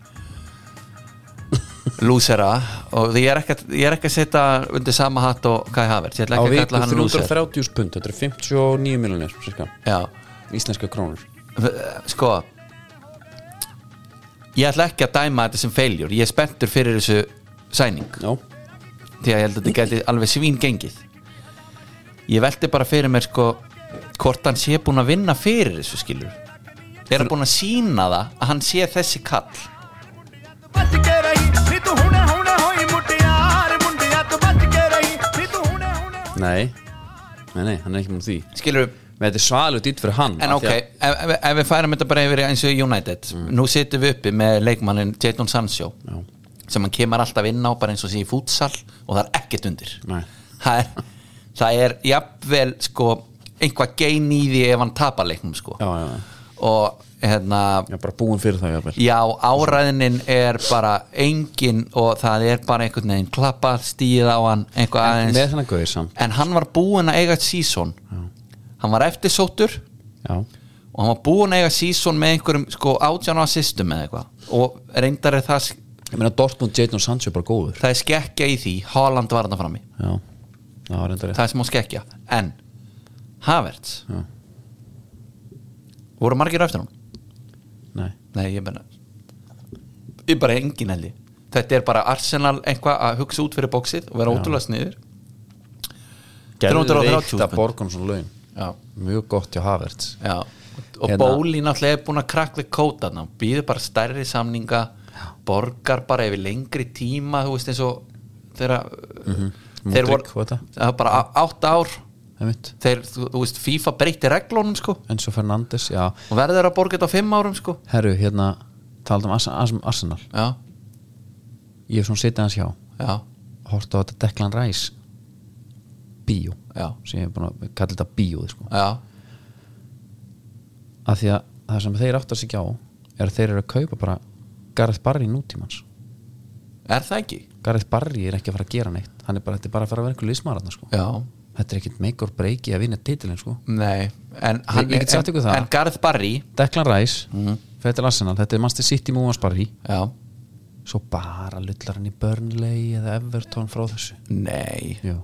Speaker 2: lúsera og ég er ekki, að- ég er ekki að setja undir sama hatt og Kai Havertz ég ætla
Speaker 1: Á
Speaker 2: ekki að
Speaker 1: viku
Speaker 2: kalla hann lúser
Speaker 1: 330 pund, þetta er 59 miljonir cirka,
Speaker 2: já,
Speaker 1: íslenska krónur
Speaker 2: sko ég ætla ekki að dæma þetta sem feiljur ég er spenntur fyrir þessu sæning
Speaker 1: Já,
Speaker 2: því að ég held að þetta gæti alveg svín gengið ég velti bara fyrir mér sko hvort hann sé búin að vinna fyrir þessu skilur er hann búin að sína það að hann sé þessi kall
Speaker 1: nei Nei, nei, hann er ekki múin því
Speaker 2: skilur,
Speaker 1: Men þetta er svalu dýtt fyrir hann
Speaker 2: en
Speaker 1: af
Speaker 2: ok
Speaker 1: því Mm.
Speaker 2: ef, ef, ef við færum þetta bara yfir í eins og United nú setjum við uppi með leikmannin Jadon Sancho
Speaker 1: Já.
Speaker 2: sem hann kemur alltaf inn á bara eins og sé í fútsal og það er ekkert undir
Speaker 1: Nei.
Speaker 2: það er, það er jafnvel sko einhvað gein í því ef hann tapar leiknum sko
Speaker 1: að- Já, já, já,
Speaker 2: og hérna
Speaker 1: já, bara búin fyrir það jáfnvel
Speaker 2: já, áræðinin er bara engin og það er bara einhvern veginn klappa, stíða á hann eitthvað aðeins
Speaker 1: Með þennan gauðir samt
Speaker 2: en hann var búinn að eiga sísón hann var eftirsóttur
Speaker 1: Já,
Speaker 2: og hann var búinn að eiga sísón með einhverjum sko átján á systum eða eitthvað og reyndar er það,
Speaker 1: ég meina Dortmund, Jadon Sancho er bara góður
Speaker 2: það er skekkja í því Haaland var þarna frammi,
Speaker 1: Já, það var reyndar rétt.
Speaker 2: það er smá skekkja en Havertz
Speaker 1: Já.
Speaker 2: voru margir á eftir hann
Speaker 1: Nei,
Speaker 2: Nei, ég menna Ég bara engin held ég Þetta er bara Arsenal eitthvað að hugsa út fyrir bóksið og vera ótrúlega sniður
Speaker 1: gerðu
Speaker 2: 330
Speaker 1: veikt að
Speaker 2: pund.
Speaker 1: borgun svo laun
Speaker 2: Já,
Speaker 1: Mjög gott hjá Havertz
Speaker 2: já
Speaker 1: Hérna-
Speaker 2: Og hérna. Bóli náttúrulega er búin að krakla kótana býður bara stærri samninga borgar bara yfir lengri tíma þú veist eins og uh, þeirra
Speaker 1: Modric og þetta.
Speaker 2: það var bara á- átta ár
Speaker 1: Einmitt.
Speaker 2: þeir, þú, þú veist, FIFA breytti reglónum sko
Speaker 1: Enzo Fernandes, já
Speaker 2: og verður að borga þetta á fimm árum sko
Speaker 1: Herru, hérna, talað um Ars- Ars- Arsenal
Speaker 2: Já,
Speaker 1: Ég hef svona setið hans hjá
Speaker 2: já,
Speaker 1: Horta á þetta Declan Rice Bíó
Speaker 2: já,
Speaker 1: sem ég er búin að kalla þetta bíóði sko.
Speaker 2: já
Speaker 1: af því að það sem þeir áttar sig ekki á er að þeir eru að kaupa bara Gareth Barry nútímans
Speaker 2: Er það ekki?
Speaker 1: Gareth Barry er ekki að fara að gera neitt hann er bara, þetta er bara að fara að vera einhver liðsmaratna sko.
Speaker 2: Já,
Speaker 1: þetta er ekkit make or break í að vinna titilin sko.
Speaker 2: Nei, en, hann,
Speaker 1: ég get sagt ykkur
Speaker 2: en,
Speaker 1: það.
Speaker 2: en Garð Barry
Speaker 1: Declan Rice,
Speaker 2: Mhm.
Speaker 1: mm. Fetil Arsenal þetta er Manchester City Múans Barry
Speaker 2: Já,
Speaker 1: svo bara lullar hann í Burnley eða Everton frá þessu
Speaker 2: nei,
Speaker 1: Jú.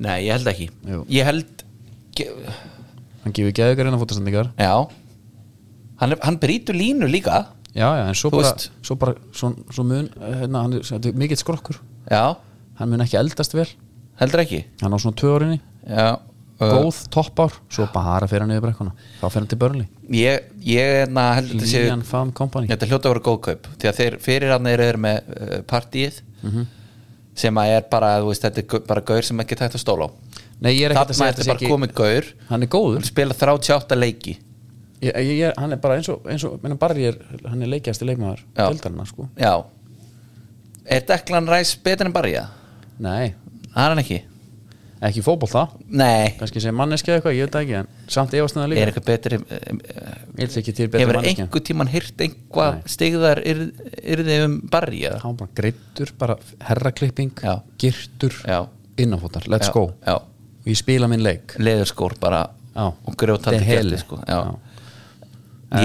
Speaker 2: nei, ég held ekki
Speaker 1: Jú.
Speaker 2: Ég held ge-
Speaker 1: hann gefur geðugar inn á fótastendingar
Speaker 2: Já Hann, er- hann brýtur línu líka
Speaker 1: já, já, en svo
Speaker 2: Þú
Speaker 1: bara,
Speaker 2: veist.
Speaker 1: svo eh, bara svo, svo mun, hérna, hann er, þetta er mikill skrokkur
Speaker 2: Já,
Speaker 1: hann mun ekki eldast vel
Speaker 2: heldur ekki
Speaker 1: hann á svona tvö árinni,
Speaker 2: já, uh,
Speaker 1: góð toppár Eh, svo bara fyrir hann yfir brekkuna þá fyrir hann til Burnley,
Speaker 2: ég, hérna ég na, heldur þetta séu
Speaker 1: Lian Farm Company
Speaker 2: þetta hljóta að vera góð kaup því að þeir fyrir hann eru þeir með uh, partíið
Speaker 1: Mhm.
Speaker 2: sem að er bara, þú veist, þetta er gau- bara gaur sem ekki tætt að stóla á
Speaker 1: Nei, ég er ekki að
Speaker 2: þarna
Speaker 1: segja
Speaker 2: er
Speaker 1: þetta
Speaker 2: þetta
Speaker 1: sé
Speaker 2: bara
Speaker 1: ekki
Speaker 2: komið gaur
Speaker 1: hann er góður,
Speaker 2: spila 38 leiki
Speaker 1: ég, ég, ég, hann er bara eins og, eins og menn bara ég er, hann er leikjast í leikmaður
Speaker 2: Já.
Speaker 1: deildarinnar, sko,
Speaker 2: já er Declan Rice betur en Barja?
Speaker 1: nei
Speaker 2: það er hann ekki
Speaker 1: ekki fótbolta,
Speaker 2: nei,
Speaker 1: kannski sem manneski eitthvað, ég veit það ekki en samt efast neða
Speaker 2: er
Speaker 1: líka,
Speaker 2: eitthvað betur uh,
Speaker 1: ég veit ekki til betur
Speaker 2: hefur
Speaker 1: manneski
Speaker 2: einhver tíman hýrt einhvað
Speaker 1: Nei.
Speaker 2: stigðar yrð- yrði um Barja?
Speaker 1: hann var bara greittur, bara herraklipping
Speaker 2: Já.
Speaker 1: girtur,
Speaker 2: Já.
Speaker 1: innanfótar let's
Speaker 2: Já,
Speaker 1: go,
Speaker 2: já.
Speaker 1: og ég spila minn leik
Speaker 2: leðurskór bara
Speaker 1: Já.
Speaker 2: og grjótandi
Speaker 1: De Hele.
Speaker 2: kjöldi sko. Já.
Speaker 1: Já.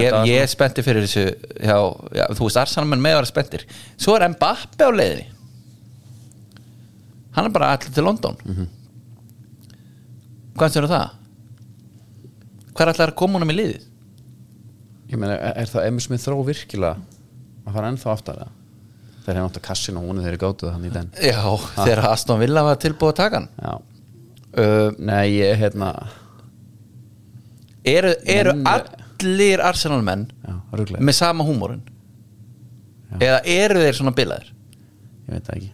Speaker 2: ég,
Speaker 1: Þetta var
Speaker 2: ég er spennti fyrir þessu já, já, þú veist Arsanamenn með að vera spenntir svo er Mbappe á leiðinni hann er bara allir til London mm
Speaker 1: Mhm.
Speaker 2: -hmm. hvað styrir það? hvað er allir að koma honum í liðið?
Speaker 1: ég meina, er- er það Emil Smith þró virkilega að fara ennþá aftar það þeir hefði átt að kassin og húnu þeir gáttuð hann í den
Speaker 2: já, þegar Aston Villa var tilbúið að taka hann
Speaker 1: já,
Speaker 2: uh,
Speaker 1: nei, ég, hérna
Speaker 2: eru, eru
Speaker 1: Menn-
Speaker 2: allir Arsenalmenn
Speaker 1: já, ruglega,
Speaker 2: með sama húmórin eða eru þeir svona bilaðir
Speaker 1: ég veit það ekki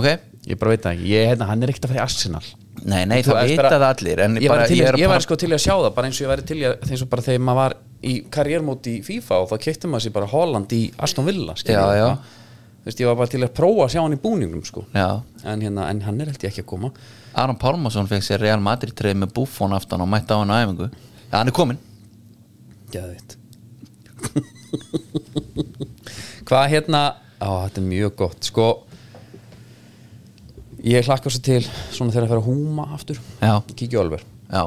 Speaker 2: ok?
Speaker 1: ég bara veit það ekki, ég, hérna, hann er ekkert að fara í Arsenal
Speaker 2: Nei, nei,
Speaker 1: Þú
Speaker 2: það
Speaker 1: veist
Speaker 2: vita
Speaker 1: bara-
Speaker 2: það allir en
Speaker 1: ég, bara,
Speaker 2: bara,
Speaker 1: til,
Speaker 2: ég
Speaker 1: ég,
Speaker 2: er
Speaker 1: ég
Speaker 2: bara,
Speaker 1: var sko til í að sjá það bara eins og ég væri til í að eins og bara þegar maður var í karriérmóti í FIFA og þá keipti maður sér bara Holland í Aston Villa skilur
Speaker 2: Já,
Speaker 1: við
Speaker 2: já.
Speaker 1: það. Þú veist, ég var bara til að prófa að sjá hann í búningum sko.
Speaker 2: Já.
Speaker 1: en, hérna, en hann er held ég ekki að koma
Speaker 2: Aron Pálmarsson fekk sér Real Madrid treði með Buffon aftan og mætti á hann á æfingu Já, hann er komin
Speaker 1: Geðvitt Hvað hérna Á, þetta er mjög gott Sko Ég hlakka svo til Svona þegar að fara að húma aftur
Speaker 2: Já.
Speaker 1: Kíkja Olver
Speaker 2: Já.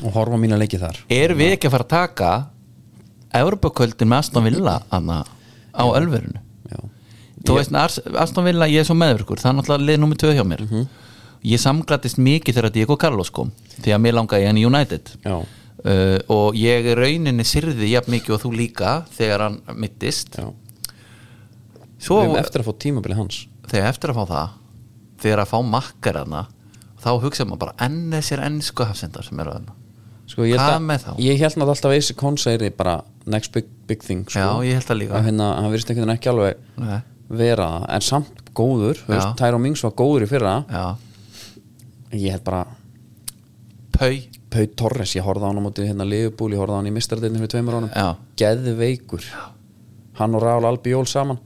Speaker 1: Og horfa á mína leiki þar
Speaker 2: Erum við ekki að fara að taka Evropaköldin með Aston Villa hana, á ölverinu
Speaker 1: Já
Speaker 2: Þú veist, Ars, Aston Villa, ég er svo meður ykkur það er náttúrulega lið nummer 2 hjá mér
Speaker 1: Mhm.
Speaker 2: Ég samglattist mikið þegar Diego Carlos kom því að mér langaði hann í United
Speaker 1: Já
Speaker 2: uh, og ég í rauninni syrði jafn mikið og þú líka þegar hann mittist
Speaker 1: Já
Speaker 2: Svo,
Speaker 1: Við hefum eftir að fá tímabili hans
Speaker 2: þegar eftir að fá það þegar að fá makkar hana þá hugsa maður bara enn þessir ennsku hafsendar sem eru hana
Speaker 1: Sko ég
Speaker 2: Hvað
Speaker 1: held að-
Speaker 2: með þá?
Speaker 1: Ég held náttúrulega alltaf að þessi konseri bara Next big, big thing sko.
Speaker 2: Já, ég held það líka.
Speaker 1: Að Hérna, hann virðist einhvern veginn ekki alveg
Speaker 2: Nei.
Speaker 1: vera það, En samt góður þú veist,
Speaker 2: Já.
Speaker 1: Tyrone Mings var góður í fyrra
Speaker 2: já,
Speaker 1: Ég held bara
Speaker 2: pau
Speaker 1: Pau Torres, ég horfði á hann á móti hérna Liverpool, ég horfði á hann í mistardeinni fyrir tveimur
Speaker 2: Já.
Speaker 1: ánum Geðveikur Hann og Rál Albiol saman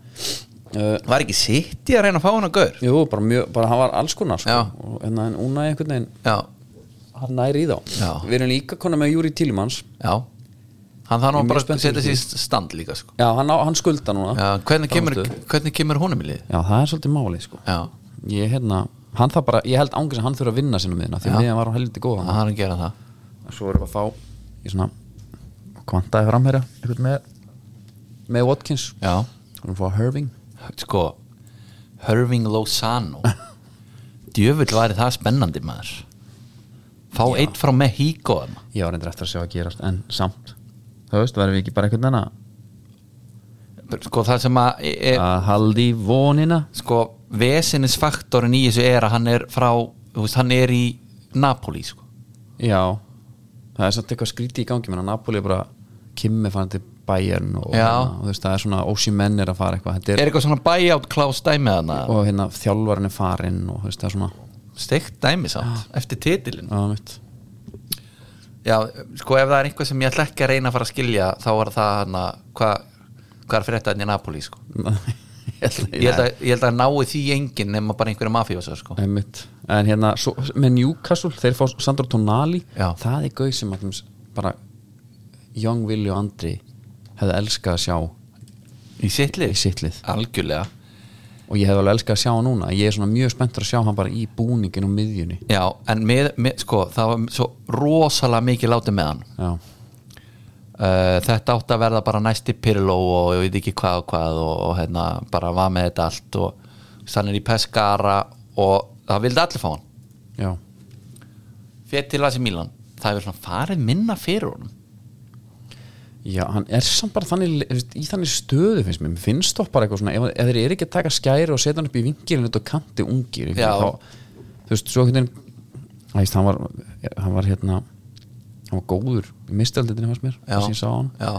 Speaker 1: uh,
Speaker 2: var ekki sitt í að reyna að fá hana gaur
Speaker 1: Jú, bara mjög, bara hann var alls konar sko.
Speaker 2: Já.
Speaker 1: og hérna en unnaði einhvern veginn
Speaker 2: já,
Speaker 1: hann næri í þá
Speaker 2: Já.
Speaker 1: Við erum líka konar með Júri Tílimans
Speaker 2: já hann þarf nú
Speaker 1: Ég er
Speaker 2: bara
Speaker 1: mjög
Speaker 2: að
Speaker 1: spennt
Speaker 2: setja
Speaker 1: fyrir
Speaker 2: sér í stand líka sko.
Speaker 1: Já, hann, á, hann skulda núna
Speaker 2: já, hvernig, kemur,
Speaker 1: Frammistöðu.
Speaker 2: hvernig kemur honum í lið
Speaker 1: Já, það er svolítið málið sko
Speaker 2: já,
Speaker 1: Ég hérna, hann það bara, ég held ángriðs að hann þurfa að vinna sinna miðina því
Speaker 2: Já.
Speaker 1: að miðan var á helviti góð
Speaker 2: hann þarf að gera það
Speaker 1: Svo erum við að fá í svona kvantaði framherja, einhvern með með Watkins,
Speaker 2: já,
Speaker 1: við erum að fá Herving
Speaker 2: sko Herving Lozano djöfull væri það spennandi maður fá eitt frá Mexico hana
Speaker 1: Ég var reyndar eftir að sjá að gerast en samt Þú veist, verðum við ekki bara einhvern veginn
Speaker 2: sko það sem að e, e,
Speaker 1: að haldi vonina
Speaker 2: sko vesinisfaktorin í þessu er að hann er frá þú veist, hann er í Napoli sko.
Speaker 1: Já, það er samt eitthvað skríti í gangi menn að Napoli er bara kimmi fann til Bayern og,
Speaker 2: Já.
Speaker 1: og þú veist, það er svona ósimenn er að fara eitthvað Þetta
Speaker 2: er
Speaker 1: er,
Speaker 2: eitthvað svona buyout klás dæmi þannig
Speaker 1: og hérna þjálfarinn er farinn og þú veist, það er svona
Speaker 2: steikt dæmi samt eftir titilin
Speaker 1: Já, mitt
Speaker 2: já sko ef það er einhver sem ég ætla ekki að reyna að fara að skilja þá er það hann að hvað hva er fyrir þetta í Napoli sko.
Speaker 1: <laughs> Ég held
Speaker 2: ég, held að, ég held að nái því engin nema bara einhverja mafíósa sko.
Speaker 1: Einmitt. En hérna, svo, með Newcastle þeir fá Sandro Tonali
Speaker 2: Já.
Speaker 1: það er gauð sem allum bara Young Willi og Andri hefði elskað að sjá
Speaker 2: í sittlið
Speaker 1: í sittlið
Speaker 2: algjörlega
Speaker 1: og ég hef alveg elskað að sjá hann núna ég er svona mjög spenntur að sjá hann bara í búningin og miðjunni
Speaker 2: já en með, með, sko, það var svo rosalega mikið látið með hann
Speaker 1: já,
Speaker 2: Uh, þetta átti að verða bara næsti Pirlo og ég veit ekki hvað og hvað og, og hérna bara var með þetta allt og stannir í Pescara og það vildi allir fá hann
Speaker 1: já,
Speaker 2: fyrir til Asi Milan það hefur svona farið minna fyrir honum
Speaker 1: já hann er samt bara þannig, þú veist, í þannig stöðu finnst mér, mér finnst þó bara eitthvað svona ef, ef þeir eru ekki að taka skæri og setja hann upp í vingilin út á kanti ungir,
Speaker 2: Já.
Speaker 1: þá, þú veist, svo einhvern veginn æst, hann, var, hann var hérna hann var góður í mistaldinni hans mér
Speaker 2: Já.
Speaker 1: sem ég sá hann
Speaker 2: Já.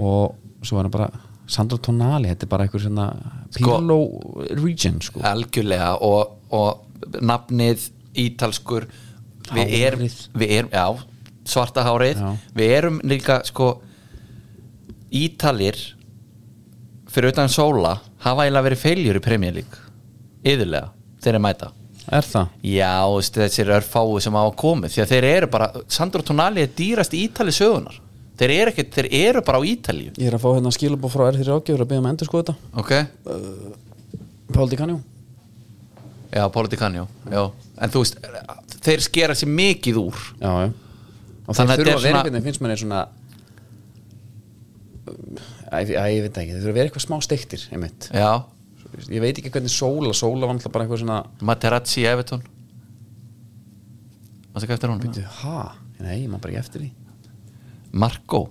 Speaker 1: og svo var hann bara Sandro Tonali, þetta er bara einhver svona Pirlo region sko
Speaker 2: algjörlega og, og nafnið ítalskur við
Speaker 1: Hárið.
Speaker 2: erum, við erum já, svarta hárið
Speaker 1: Já.
Speaker 2: við erum líka sko ítalir fyrir utan sóla hafa eiginlega verið feiljur í premjölík yðurlega, þeir eru mæta
Speaker 1: er það?
Speaker 2: já, þú veist, þessir örfáu sem hafa komið því að þeir eru bara, Sandro Tonali er dýrast í Ítali sögunar þeir eru, ekki, þeir eru bara á Ítalíu
Speaker 1: Ég er að fá hérna skilabóð frá R3 ágjöfur að byggja með endur sko þetta
Speaker 2: ok,
Speaker 1: Pál Dikanjó
Speaker 2: já, Politikanjó já. en þú veist, þeir skera sér mikið úr
Speaker 1: Já, já Og
Speaker 2: Þannig
Speaker 1: þeir
Speaker 2: að þetta
Speaker 1: þurfa að
Speaker 2: er
Speaker 1: vera
Speaker 2: svona-
Speaker 1: einhvern veginn finnst mér er svona Æ, ég- æ, ég veit það ekki, þeir þurfa að vera eitthvað smá steiktir einmitt.
Speaker 2: Já,
Speaker 1: Ég veit ekki hvernig sóla, sóla var alltaf bara eitthvað svona
Speaker 2: Materazzi í Evertón Varstu ekki eftir honum?
Speaker 1: Bíddu, Ha? Nei, ég má bara ekki eftir því
Speaker 2: Marco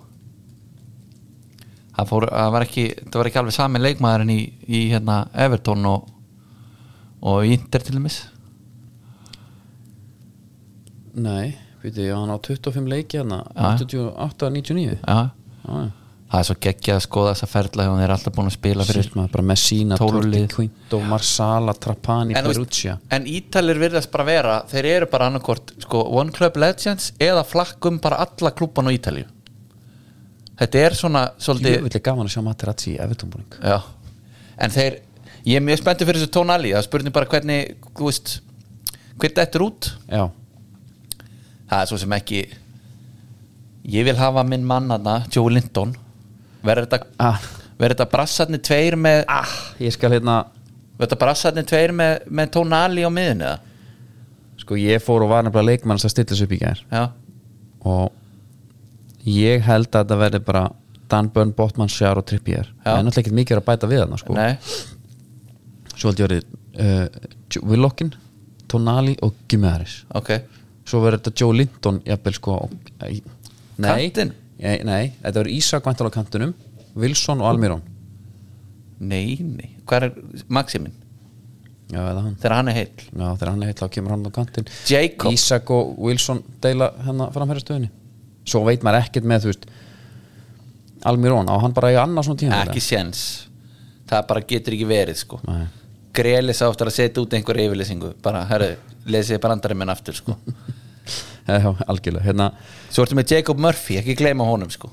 Speaker 2: Það fór, það var ekki það var ekki alveg sami leikmaðurinn í, í hérna, Evertón og, og í Inter til dæmis
Speaker 1: Nei, veitu, ég hann á 25 leiki hérna
Speaker 2: Já.
Speaker 1: 88-99
Speaker 2: Já,
Speaker 1: Já, já.
Speaker 2: það er svo geggjað að skoða þessa ferla þegar hún er alltaf búin að spila fyrir
Speaker 1: Sýrt maður bara Messina,
Speaker 2: Tólf
Speaker 1: Torti,
Speaker 2: lið.
Speaker 1: Quinto, Marsala, Trapani,
Speaker 2: En þú veist-
Speaker 1: Perugia
Speaker 2: En Ítalir virðast bara vera þeir eru bara annarkvort sko, One Club Legends eða flakkum bara alla klúban á Ítalíu Þetta er svona
Speaker 1: Ég
Speaker 2: svolítið
Speaker 1: vil gaman að sjá Materazzi í Evertónbúning
Speaker 2: Já, en þeir ég er mjög spenntur fyrir þessu tónali það er spurning bara hvernig, þú veist hvernig þetta er út,
Speaker 1: Já,
Speaker 2: það er svo sem ekki ég vil hafa minn mannana Joe Linton verður þetta,
Speaker 1: Ah.
Speaker 2: verður þetta brassarni tveir með ah.
Speaker 1: ég skal hérna
Speaker 2: verður þetta brassarni tveir með, með tónali á miðinu eða?
Speaker 1: Sko ég fór og var nefnilega leikmann að stilla sig upp í gær
Speaker 2: já,
Speaker 1: og ég held að þetta verði bara Dan Bönn, Botman, Sjár og Trippier
Speaker 2: Já.
Speaker 1: það er náttúrulega ekkert mikið að bæta við hann sko.
Speaker 2: nei,
Speaker 1: svo held ég verið uh, Willockin, Tonali og Gumaris
Speaker 2: ok
Speaker 1: svo verður þetta Joe Linton jafnvel sko og, æ, nei,
Speaker 2: Kantinn?
Speaker 1: nei, nei, þetta verður Ísak væntal á kantinum, Wilson og Almirón
Speaker 2: nei, nei, hvað er Maximin,
Speaker 1: já, eða hann
Speaker 2: þegar hann er heill
Speaker 1: já, þegar hann er heill á kemur hann á kantin
Speaker 2: Jacob.
Speaker 1: Ísak og Wilson deila hennar framherra stöðinni svo veit maður ekkert með þú veist Almirón, á hann bara í annars svona tíma
Speaker 2: ekki séns það bara getur ekki verið sko
Speaker 1: Nei.
Speaker 2: grelis áttur að setja út einhver yfirlýsingu bara, herru, lesiði brandarinn minn aftur sko.
Speaker 1: Já, já, algjörlega, hérna
Speaker 2: svo ertu með Jacob Murphy, ekki gleyma honum sko.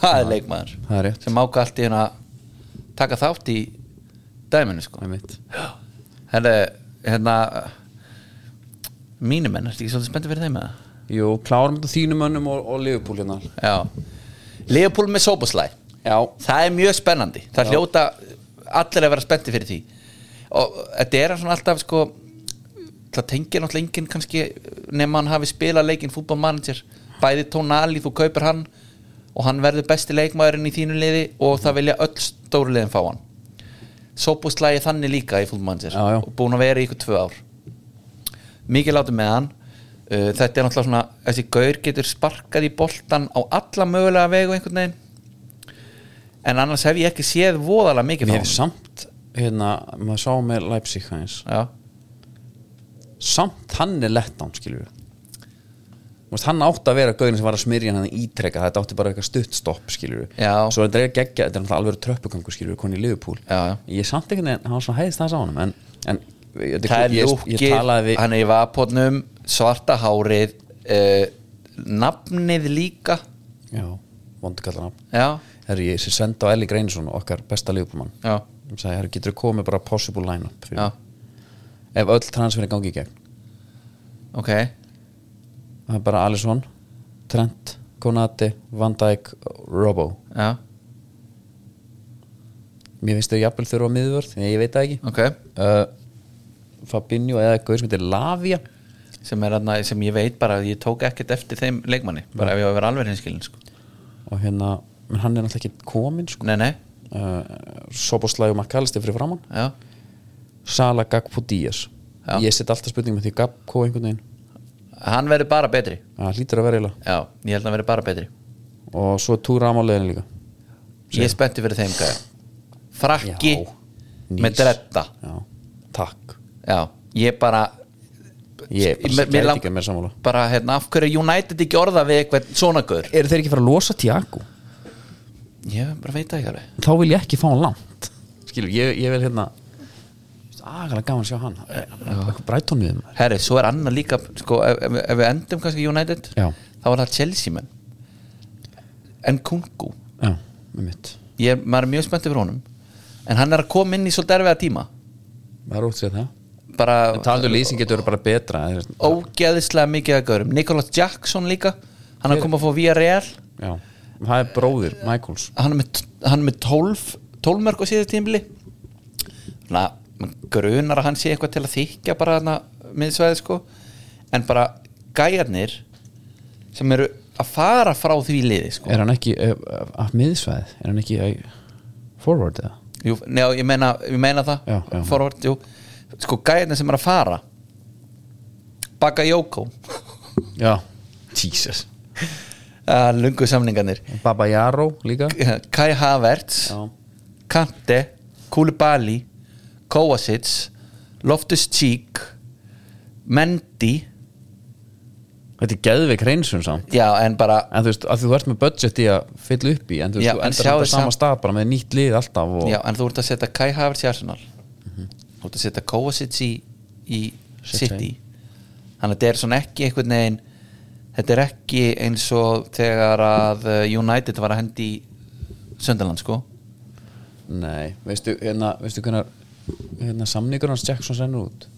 Speaker 2: það er leikmaður
Speaker 1: Það er rétt.
Speaker 2: sem áka allt í hérna taka þátt í dæminu sko.
Speaker 1: einmitt.
Speaker 2: herru, hérna mínum menn, ertu ekki svolítið spenntið fyrir þeim eða?
Speaker 1: Jú, klárum þetta þínum önnum og, og Liverpool hérna
Speaker 2: já, Leopold með Soboslæ
Speaker 1: Já,
Speaker 2: það er mjög spennandi það hljóta allir að vera spennti fyrir því og þetta er svona alltaf sko það tengir náttúrulega enginn kannski nema hann hafi spilað leikinn fútbolmanager bæði tónali, þú kaupir hann og hann verður besti leikmaðurinn í þínu liði og það vilja öll stóru liðin fá hann sópúslægi þannig líka í fútbolmanager
Speaker 1: Já, já.
Speaker 2: og búin að vera í ykkur tvö ár mikið látum með hann uh, þetta er náttúrulega svona, þessi gaur getur sparkað í boltan á alla mögulega vegu einhvern veginn en annars hef ég ekki séð voðalega mikið
Speaker 1: við
Speaker 2: frá
Speaker 1: hefum samt hérna, maður sá með Leipzig hans
Speaker 2: honum.
Speaker 1: samt hann er letdown, skilur við Vist, hann átti að vera gauðin sem var að smyrja hann ítreka, þetta átti bara eitthvað stutt stopp skilur við,
Speaker 2: Já.
Speaker 1: svo þetta er geggja þetta er náttúrulega alveg tröppugangur skilur við, koni í Liverpool
Speaker 2: Já, já.
Speaker 1: ég samt ekki neðan, hann var svona hæðist það sá honum en, en ég,
Speaker 2: það
Speaker 1: ég,
Speaker 2: er
Speaker 1: ég
Speaker 2: lúkir,
Speaker 1: talaði við
Speaker 2: hann er í vapotnum svarta hárið uh, nafnið líka
Speaker 1: já, vondu kallar hann
Speaker 2: já,
Speaker 1: Herri, ég sem sendi á Elli Greinsson okkar besta liðbúmann
Speaker 2: já,
Speaker 1: sem sagði, herri, getur þú komið bara possible line-up fyrir
Speaker 2: já
Speaker 1: mig? ef öll transferin gangi í gegn
Speaker 2: ok,
Speaker 1: það er bara Alisson, Trent Konati, Van Dijk, Robbo
Speaker 2: já,
Speaker 1: mér finnst þau jafnvel þurfa miðvörð en ég veit það ekki
Speaker 2: ok
Speaker 1: uh, Fabinho eða eitthvað sem heitir Lavia
Speaker 2: sem, er, þarna- sem ég veit bara að ég tók ekkert eftir þeim leikmanni bara ef ég var að vera alveg hinskilin sko.
Speaker 1: og hérna, menn hann er náttúrulega ekki komin sko.
Speaker 2: nei, nei,
Speaker 1: uh, Soboslæg og Makkalist fyrir framann
Speaker 2: já,
Speaker 1: Sala Gagpo Díaz
Speaker 2: Já.
Speaker 1: ég set alltaf spurningum með því Gagpo einhvern veginn
Speaker 2: hann verður bara betri
Speaker 1: það hlýtur að vera eiginlega
Speaker 2: já, ég held að hann verður bara betri
Speaker 1: og svo er Túram á leiðin líka
Speaker 2: ég er spenntið fyrir þeim gæja frakki
Speaker 1: Já, nýs.
Speaker 2: með dretta
Speaker 1: Já, takk
Speaker 2: já, ég bara
Speaker 1: Ég
Speaker 2: Mér- mér
Speaker 1: gæti
Speaker 2: lang-
Speaker 1: ekki að mér sammála.
Speaker 2: bara hérna, af hverju er United ekki orða við eitthvað svona gaur
Speaker 1: Eru þeir ekki fara að losa Tiago?
Speaker 2: ég bara veit það ekki alveg
Speaker 1: Þá vil ég ekki fá hann langt Skilur, ég, ég vil hérna Agalega gaman að sjá hann Eitthvað brætón við maður
Speaker 2: herri, svo er annar líka sko, ef, ef, ef við endum kannski United
Speaker 1: Já.
Speaker 2: þá er það Chelsea menn en Kungu
Speaker 1: Já, með mitt
Speaker 2: ég, maður er mjög spenntið fyrir honum en hann er að koma inn í svolítið erfiða tíma
Speaker 1: Það er út sér það
Speaker 2: bara
Speaker 1: Taldu lýsing um getur verið bara betra eða þú veist.
Speaker 2: ógeðislega mikið að gaurum Nicholas Jackson líka hann er að koma að fá VRL
Speaker 1: Já, það er bróðir Michaels
Speaker 2: hann er með, hann er með 12 12 mörg á síðast tímli þannig að mann grunar að hann sé eitthvað til að þykja bara þarna miðsvæði sko en bara gæjarnir sem eru að fara frá því liði sko
Speaker 1: Er hann ekki eh, af miðsvæðið? Er hann ekki eh, forward eða?
Speaker 2: jú, njá, ég, meina, ég meina það
Speaker 1: Já, já.
Speaker 2: Forward, jú, sko gæjarnir sem eru að fara baka Jókó
Speaker 1: Já Jesus
Speaker 2: lungu eh, samningarnir
Speaker 1: Baba Jaró líka
Speaker 2: Kai Havertz
Speaker 1: Já.
Speaker 2: Kante, Koulibaly Kovacic Loftus-Cheek Mendy
Speaker 1: Þetta er geðveik reynsun samt
Speaker 2: já en bara
Speaker 1: En þú veist, að þú ert með budget í að fylla upp í En þú veist,
Speaker 2: Já,
Speaker 1: þú
Speaker 2: en
Speaker 1: endar
Speaker 2: sjáðu
Speaker 1: þetta sama
Speaker 2: samt-
Speaker 1: stað bara með nýtt lið alltaf og... Mhm.
Speaker 2: já, en þú ert að setja Kai Havertz í Arsenal þú ert að setja Kovacic í, í
Speaker 1: City.
Speaker 2: City þannig að þetta er svona ekki einhvern veginn þetta er ekki eins og þegar að uh, United var að hendi Söndaland sko
Speaker 1: Nei, veistu, hérna, veistu hvernig hérna, samningur hans Jackson rennur út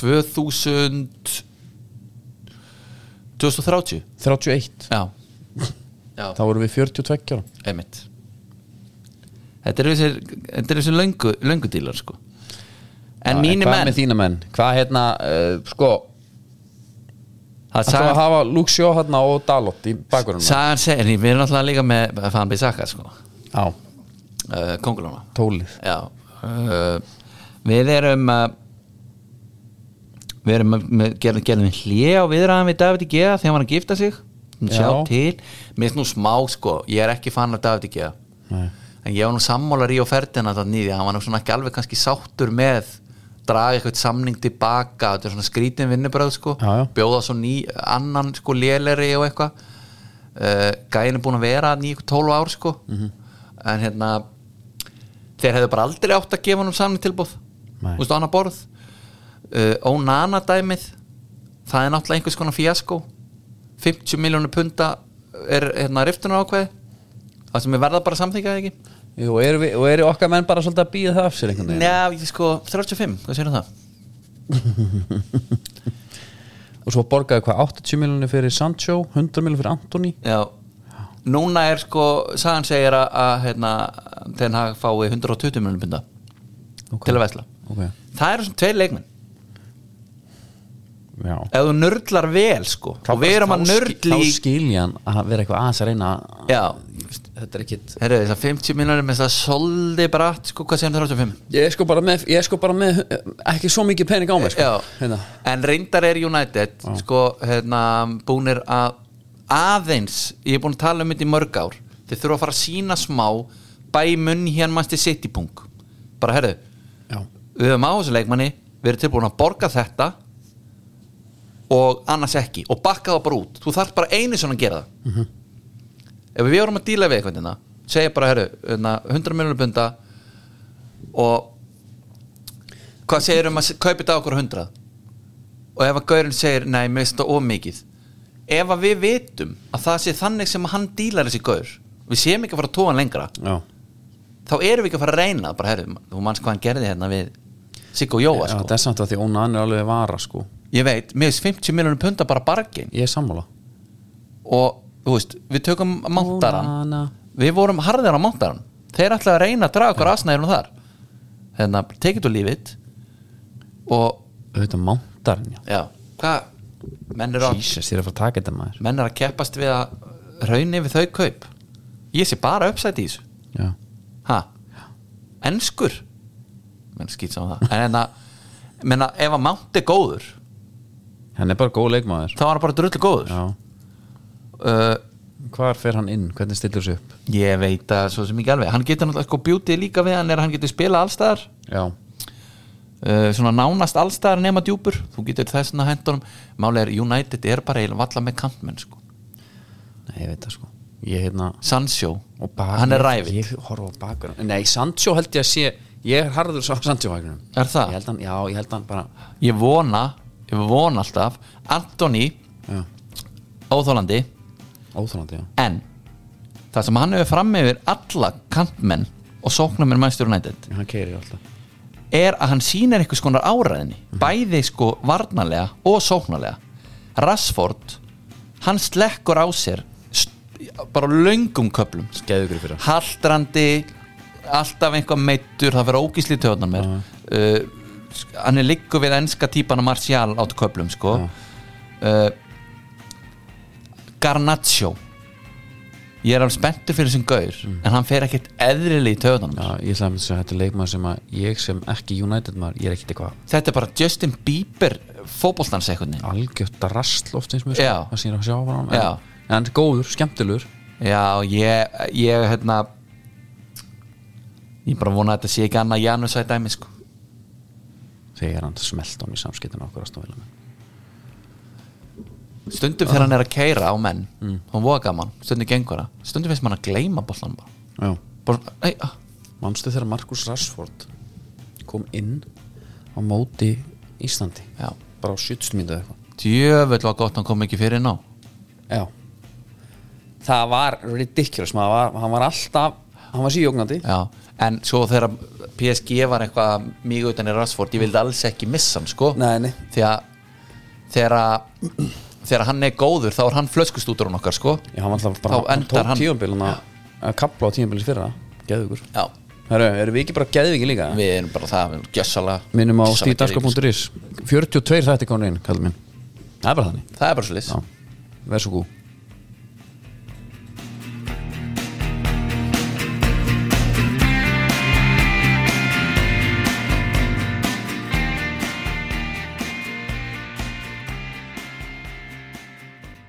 Speaker 2: 2000 2030
Speaker 1: 31,
Speaker 2: já já
Speaker 1: þá vorum við 42 ára
Speaker 2: Einmitt. Þetta eru þessir, þetta eru þessir löngu, löngu dílar sko. En
Speaker 1: Já,
Speaker 2: mínir
Speaker 1: hvað
Speaker 2: menn
Speaker 1: með þína menn, hvað hérna uh, sko,
Speaker 2: það
Speaker 1: það að
Speaker 2: sagan,
Speaker 1: hafa Luke Shaw hérna og Dalot í bakgrunum
Speaker 2: sagan segir, en við erum náttúrulega líka með Fan Bissaka sko,
Speaker 1: Já,
Speaker 2: uh, kongulóna
Speaker 1: tólið
Speaker 2: Já uh, Við erum að við erum að með- gerðum, gerðum hlé á viðræðan við David Gea þegar hann var að gifta sig
Speaker 1: Já.
Speaker 2: sjá til, mér finnst nú smá sko ég er ekki fann af David Gea
Speaker 1: Nei.
Speaker 2: en ég var nú sammála Ríó Ferdinand að nýði, hann var nú svona ekki alveg kannski sáttur með draga eitthvað samning tilbaka, þetta er svona skrítin vinnubröð sko,
Speaker 1: Já, já.
Speaker 2: bjóða svo ný annan sko léleri og eitthvað uh, gæin er búin að vera þarna í eitthvað 12 ár sko
Speaker 1: Mhm.
Speaker 2: en hérna þeir hefðu bara aldrei átt að gefa hann um samning tilbúð
Speaker 1: Nei.
Speaker 2: veist, á annað borð uh, Ónana dæmið það er náttúrulega einhvers konar fíaskó 50 miljónu punta er hérna riftunar ákveði það sem er verða bara að samþykja það ekki
Speaker 1: Jú, og eru, við, og eru okkar menn bara svolítið að býða það af sér einhvern veginn
Speaker 2: Njá, ég sko, 35, hvað séu það?
Speaker 1: og svo borgaði hvað 80 miljonir fyrir Sancho 100 miljonir fyrir Antoni
Speaker 2: Já, núna er sko sagan segir að, að hérna, þegar hann fái 120 miljónu punta
Speaker 1: Ok.
Speaker 2: til að vesla
Speaker 1: Ok.
Speaker 2: það eru svona tveir leikmenn
Speaker 1: Já
Speaker 2: ef þú nördlar vel sko og við erum að
Speaker 1: Þá skil-
Speaker 2: nördli
Speaker 1: Þá skilji hann að vera eitthvað aðeins að reyna að-
Speaker 2: Já.
Speaker 1: Þetta er ekkit
Speaker 2: Herru, þessar 50 miljonir með það soldi bratt, sko, hvað segir 35?
Speaker 1: Ég er sko bara með, ég er sko bara með eh, ekki svo mikið pening á mig sko.
Speaker 2: Já,
Speaker 1: Hérna.
Speaker 2: en reyndar er United, sko, hérna, búnir að aðeins, ég er búin að tala um þetta í mörg ár, þeir þurfa að fara að sína smá bæ munn hérna mannstu sittipung. Bara, herru,
Speaker 1: Já.
Speaker 2: við höfum á þessu leikmanni, við erum tilbúin að borga þetta og annars ekki, og bakka það bara út. Þú þarf bara einu svona að gera það. ef við vorum að díla við eitthvað hérna, segja bara herru, hérna, 100 miljonar punda og hvað segir um að se- kaupa þetta á okkur 100 og ef að gaurinn segir nei, mér finnst þetta ómikið ef að við vitum að það sé þannig sem að hann dílar þessi gaur við séum ekki að fara að tóa hann lengra
Speaker 1: Já.
Speaker 2: þá erum við ekki að fara að reyna bara herru, þú manns hvað hann gerði hérna við Siggo Jóa
Speaker 1: Já,
Speaker 2: sko.
Speaker 1: þetta er samt að því ónan er alveg vara sko.
Speaker 2: ég veit, mér finnst 50 miljonar punda bara bargin
Speaker 1: Ég er sammála
Speaker 2: og þú veist, við tökum mántaran
Speaker 1: Onana.
Speaker 2: við vorum harðir á mántaran þeir ætlaði að reyna að draga okkur aðsnæðir og þar hérna, take it or leave it og,
Speaker 1: Auðvitað mántarinn já.
Speaker 2: já, hvað menn eru að,
Speaker 1: Jesus, ég er að fara að taka þetta maður
Speaker 2: menn eru að keppast við að raunni við þau kaup ég sé bara uppsætt í þessu
Speaker 1: Já,
Speaker 2: ha, enskur menn skýt saman það en hérna, menna, ef að mánt er góður
Speaker 1: hann er bara góð leikmaður
Speaker 2: þá er hann bara drullu góður
Speaker 1: Já,
Speaker 2: uh,
Speaker 1: hvar fer hann inn, hvernig stillur sig upp
Speaker 2: ég veit að svo sem ekki alveg hann getur náttúrulega sko bjútið líka við hann er að hann getur spila allstaðar
Speaker 1: Já,
Speaker 2: uh, svona nánast allstaðar nema djúpur þú getur þess að hendunum máli er United er bara eiginlega valla með kantmenn sko.
Speaker 1: Nei, ég veit það sko Ég hérna
Speaker 2: Sancho,
Speaker 1: og bak-
Speaker 2: hann er ræfið
Speaker 1: Ég horfa á bakur Nei, Sancho held ég að sé Ég er harður sá Sancho vagnum
Speaker 2: Er það?
Speaker 1: Ég held hann, já, ég held hann bara
Speaker 2: ég vona, ég vona alltaf Antoni
Speaker 1: Já.
Speaker 2: óþólandi
Speaker 1: Óþrólandi, já
Speaker 2: en það sem hann hefur fram yfir alla kantmenn og sóknar mér mæstur United
Speaker 1: Hann keirir alltaf
Speaker 2: er að hann sýnir einhvers konar áræðinni bæði sko varnarlega og sóknarlega Rashford hann slekkur á sér st- bara á löngum köplum
Speaker 1: Geður ykkur fyrir hann.
Speaker 2: haldrandi alltaf einhvað meittur, það fyrir ógísli töðan mér uh, hann er líku við enska típana Martial át köplum sko uh. Garnaccio ég er alveg spenntur fyrir sem gaur en hann fer ekkert eðrili í töðan
Speaker 1: Já, ég ætla að mynda að þetta er leikmaður sem að ég sem ekki United maður, ég er ekkit eitthvað
Speaker 2: þetta er bara Justin Bieber fótbolstans einhvern veginn
Speaker 1: algjört drasl oft eins og mér,
Speaker 2: Já.
Speaker 1: sko, það sem ég er að sjá á hann
Speaker 2: Já.
Speaker 1: en, en hann er góður, skemmtilegur
Speaker 2: já, ég, ég hérna ég bara vona að þetta sé ekki annað Janus að dæmi sko
Speaker 1: þegar hann smelt hann í samskiptinu okkur að stóðvila með
Speaker 2: stundum þegar
Speaker 1: Ah.
Speaker 2: hann er að keira á menn mm. hún voga gaman, stundum gengur það stundum finnst mann að gleyma bollan bara,
Speaker 1: Já,
Speaker 2: bara ei, ah.
Speaker 1: manstu þegar Markus Rashford kom inn á móti Íslandi
Speaker 2: já,
Speaker 1: bara á 70 mínútu eða eitthvað
Speaker 2: djöfull var gott hann kom ekki fyrir ná
Speaker 1: Já Það var ridiculous, maður var, hann var alltaf hann var síjóknandi
Speaker 2: já. en svo þegar PSG var eitthvað mjög utan í Rashford, ég vildi alls ekki missa hann sko,
Speaker 1: Nei, nei,
Speaker 2: því að þegar að- þegar hann er góður þá er hann flöskust út á hún okkar sko
Speaker 1: Já, hann var alltaf bara,
Speaker 2: Þá
Speaker 1: hann
Speaker 2: endar
Speaker 1: tók
Speaker 2: hann-
Speaker 1: tíumbilin að að kapla á tíumbilin fyrra, geðugur
Speaker 2: já,
Speaker 1: Herru, erum við ekki bara geðviki líka?
Speaker 2: við erum bara það, við erum gjössalega sko.
Speaker 1: Minnum á
Speaker 2: gjörsamlega geðveikir,
Speaker 1: stíðdaskar.is 42 þætti komin inn, kallum minn Það er bara þannig
Speaker 2: sko. það er bara svo
Speaker 1: Já, verð svo góð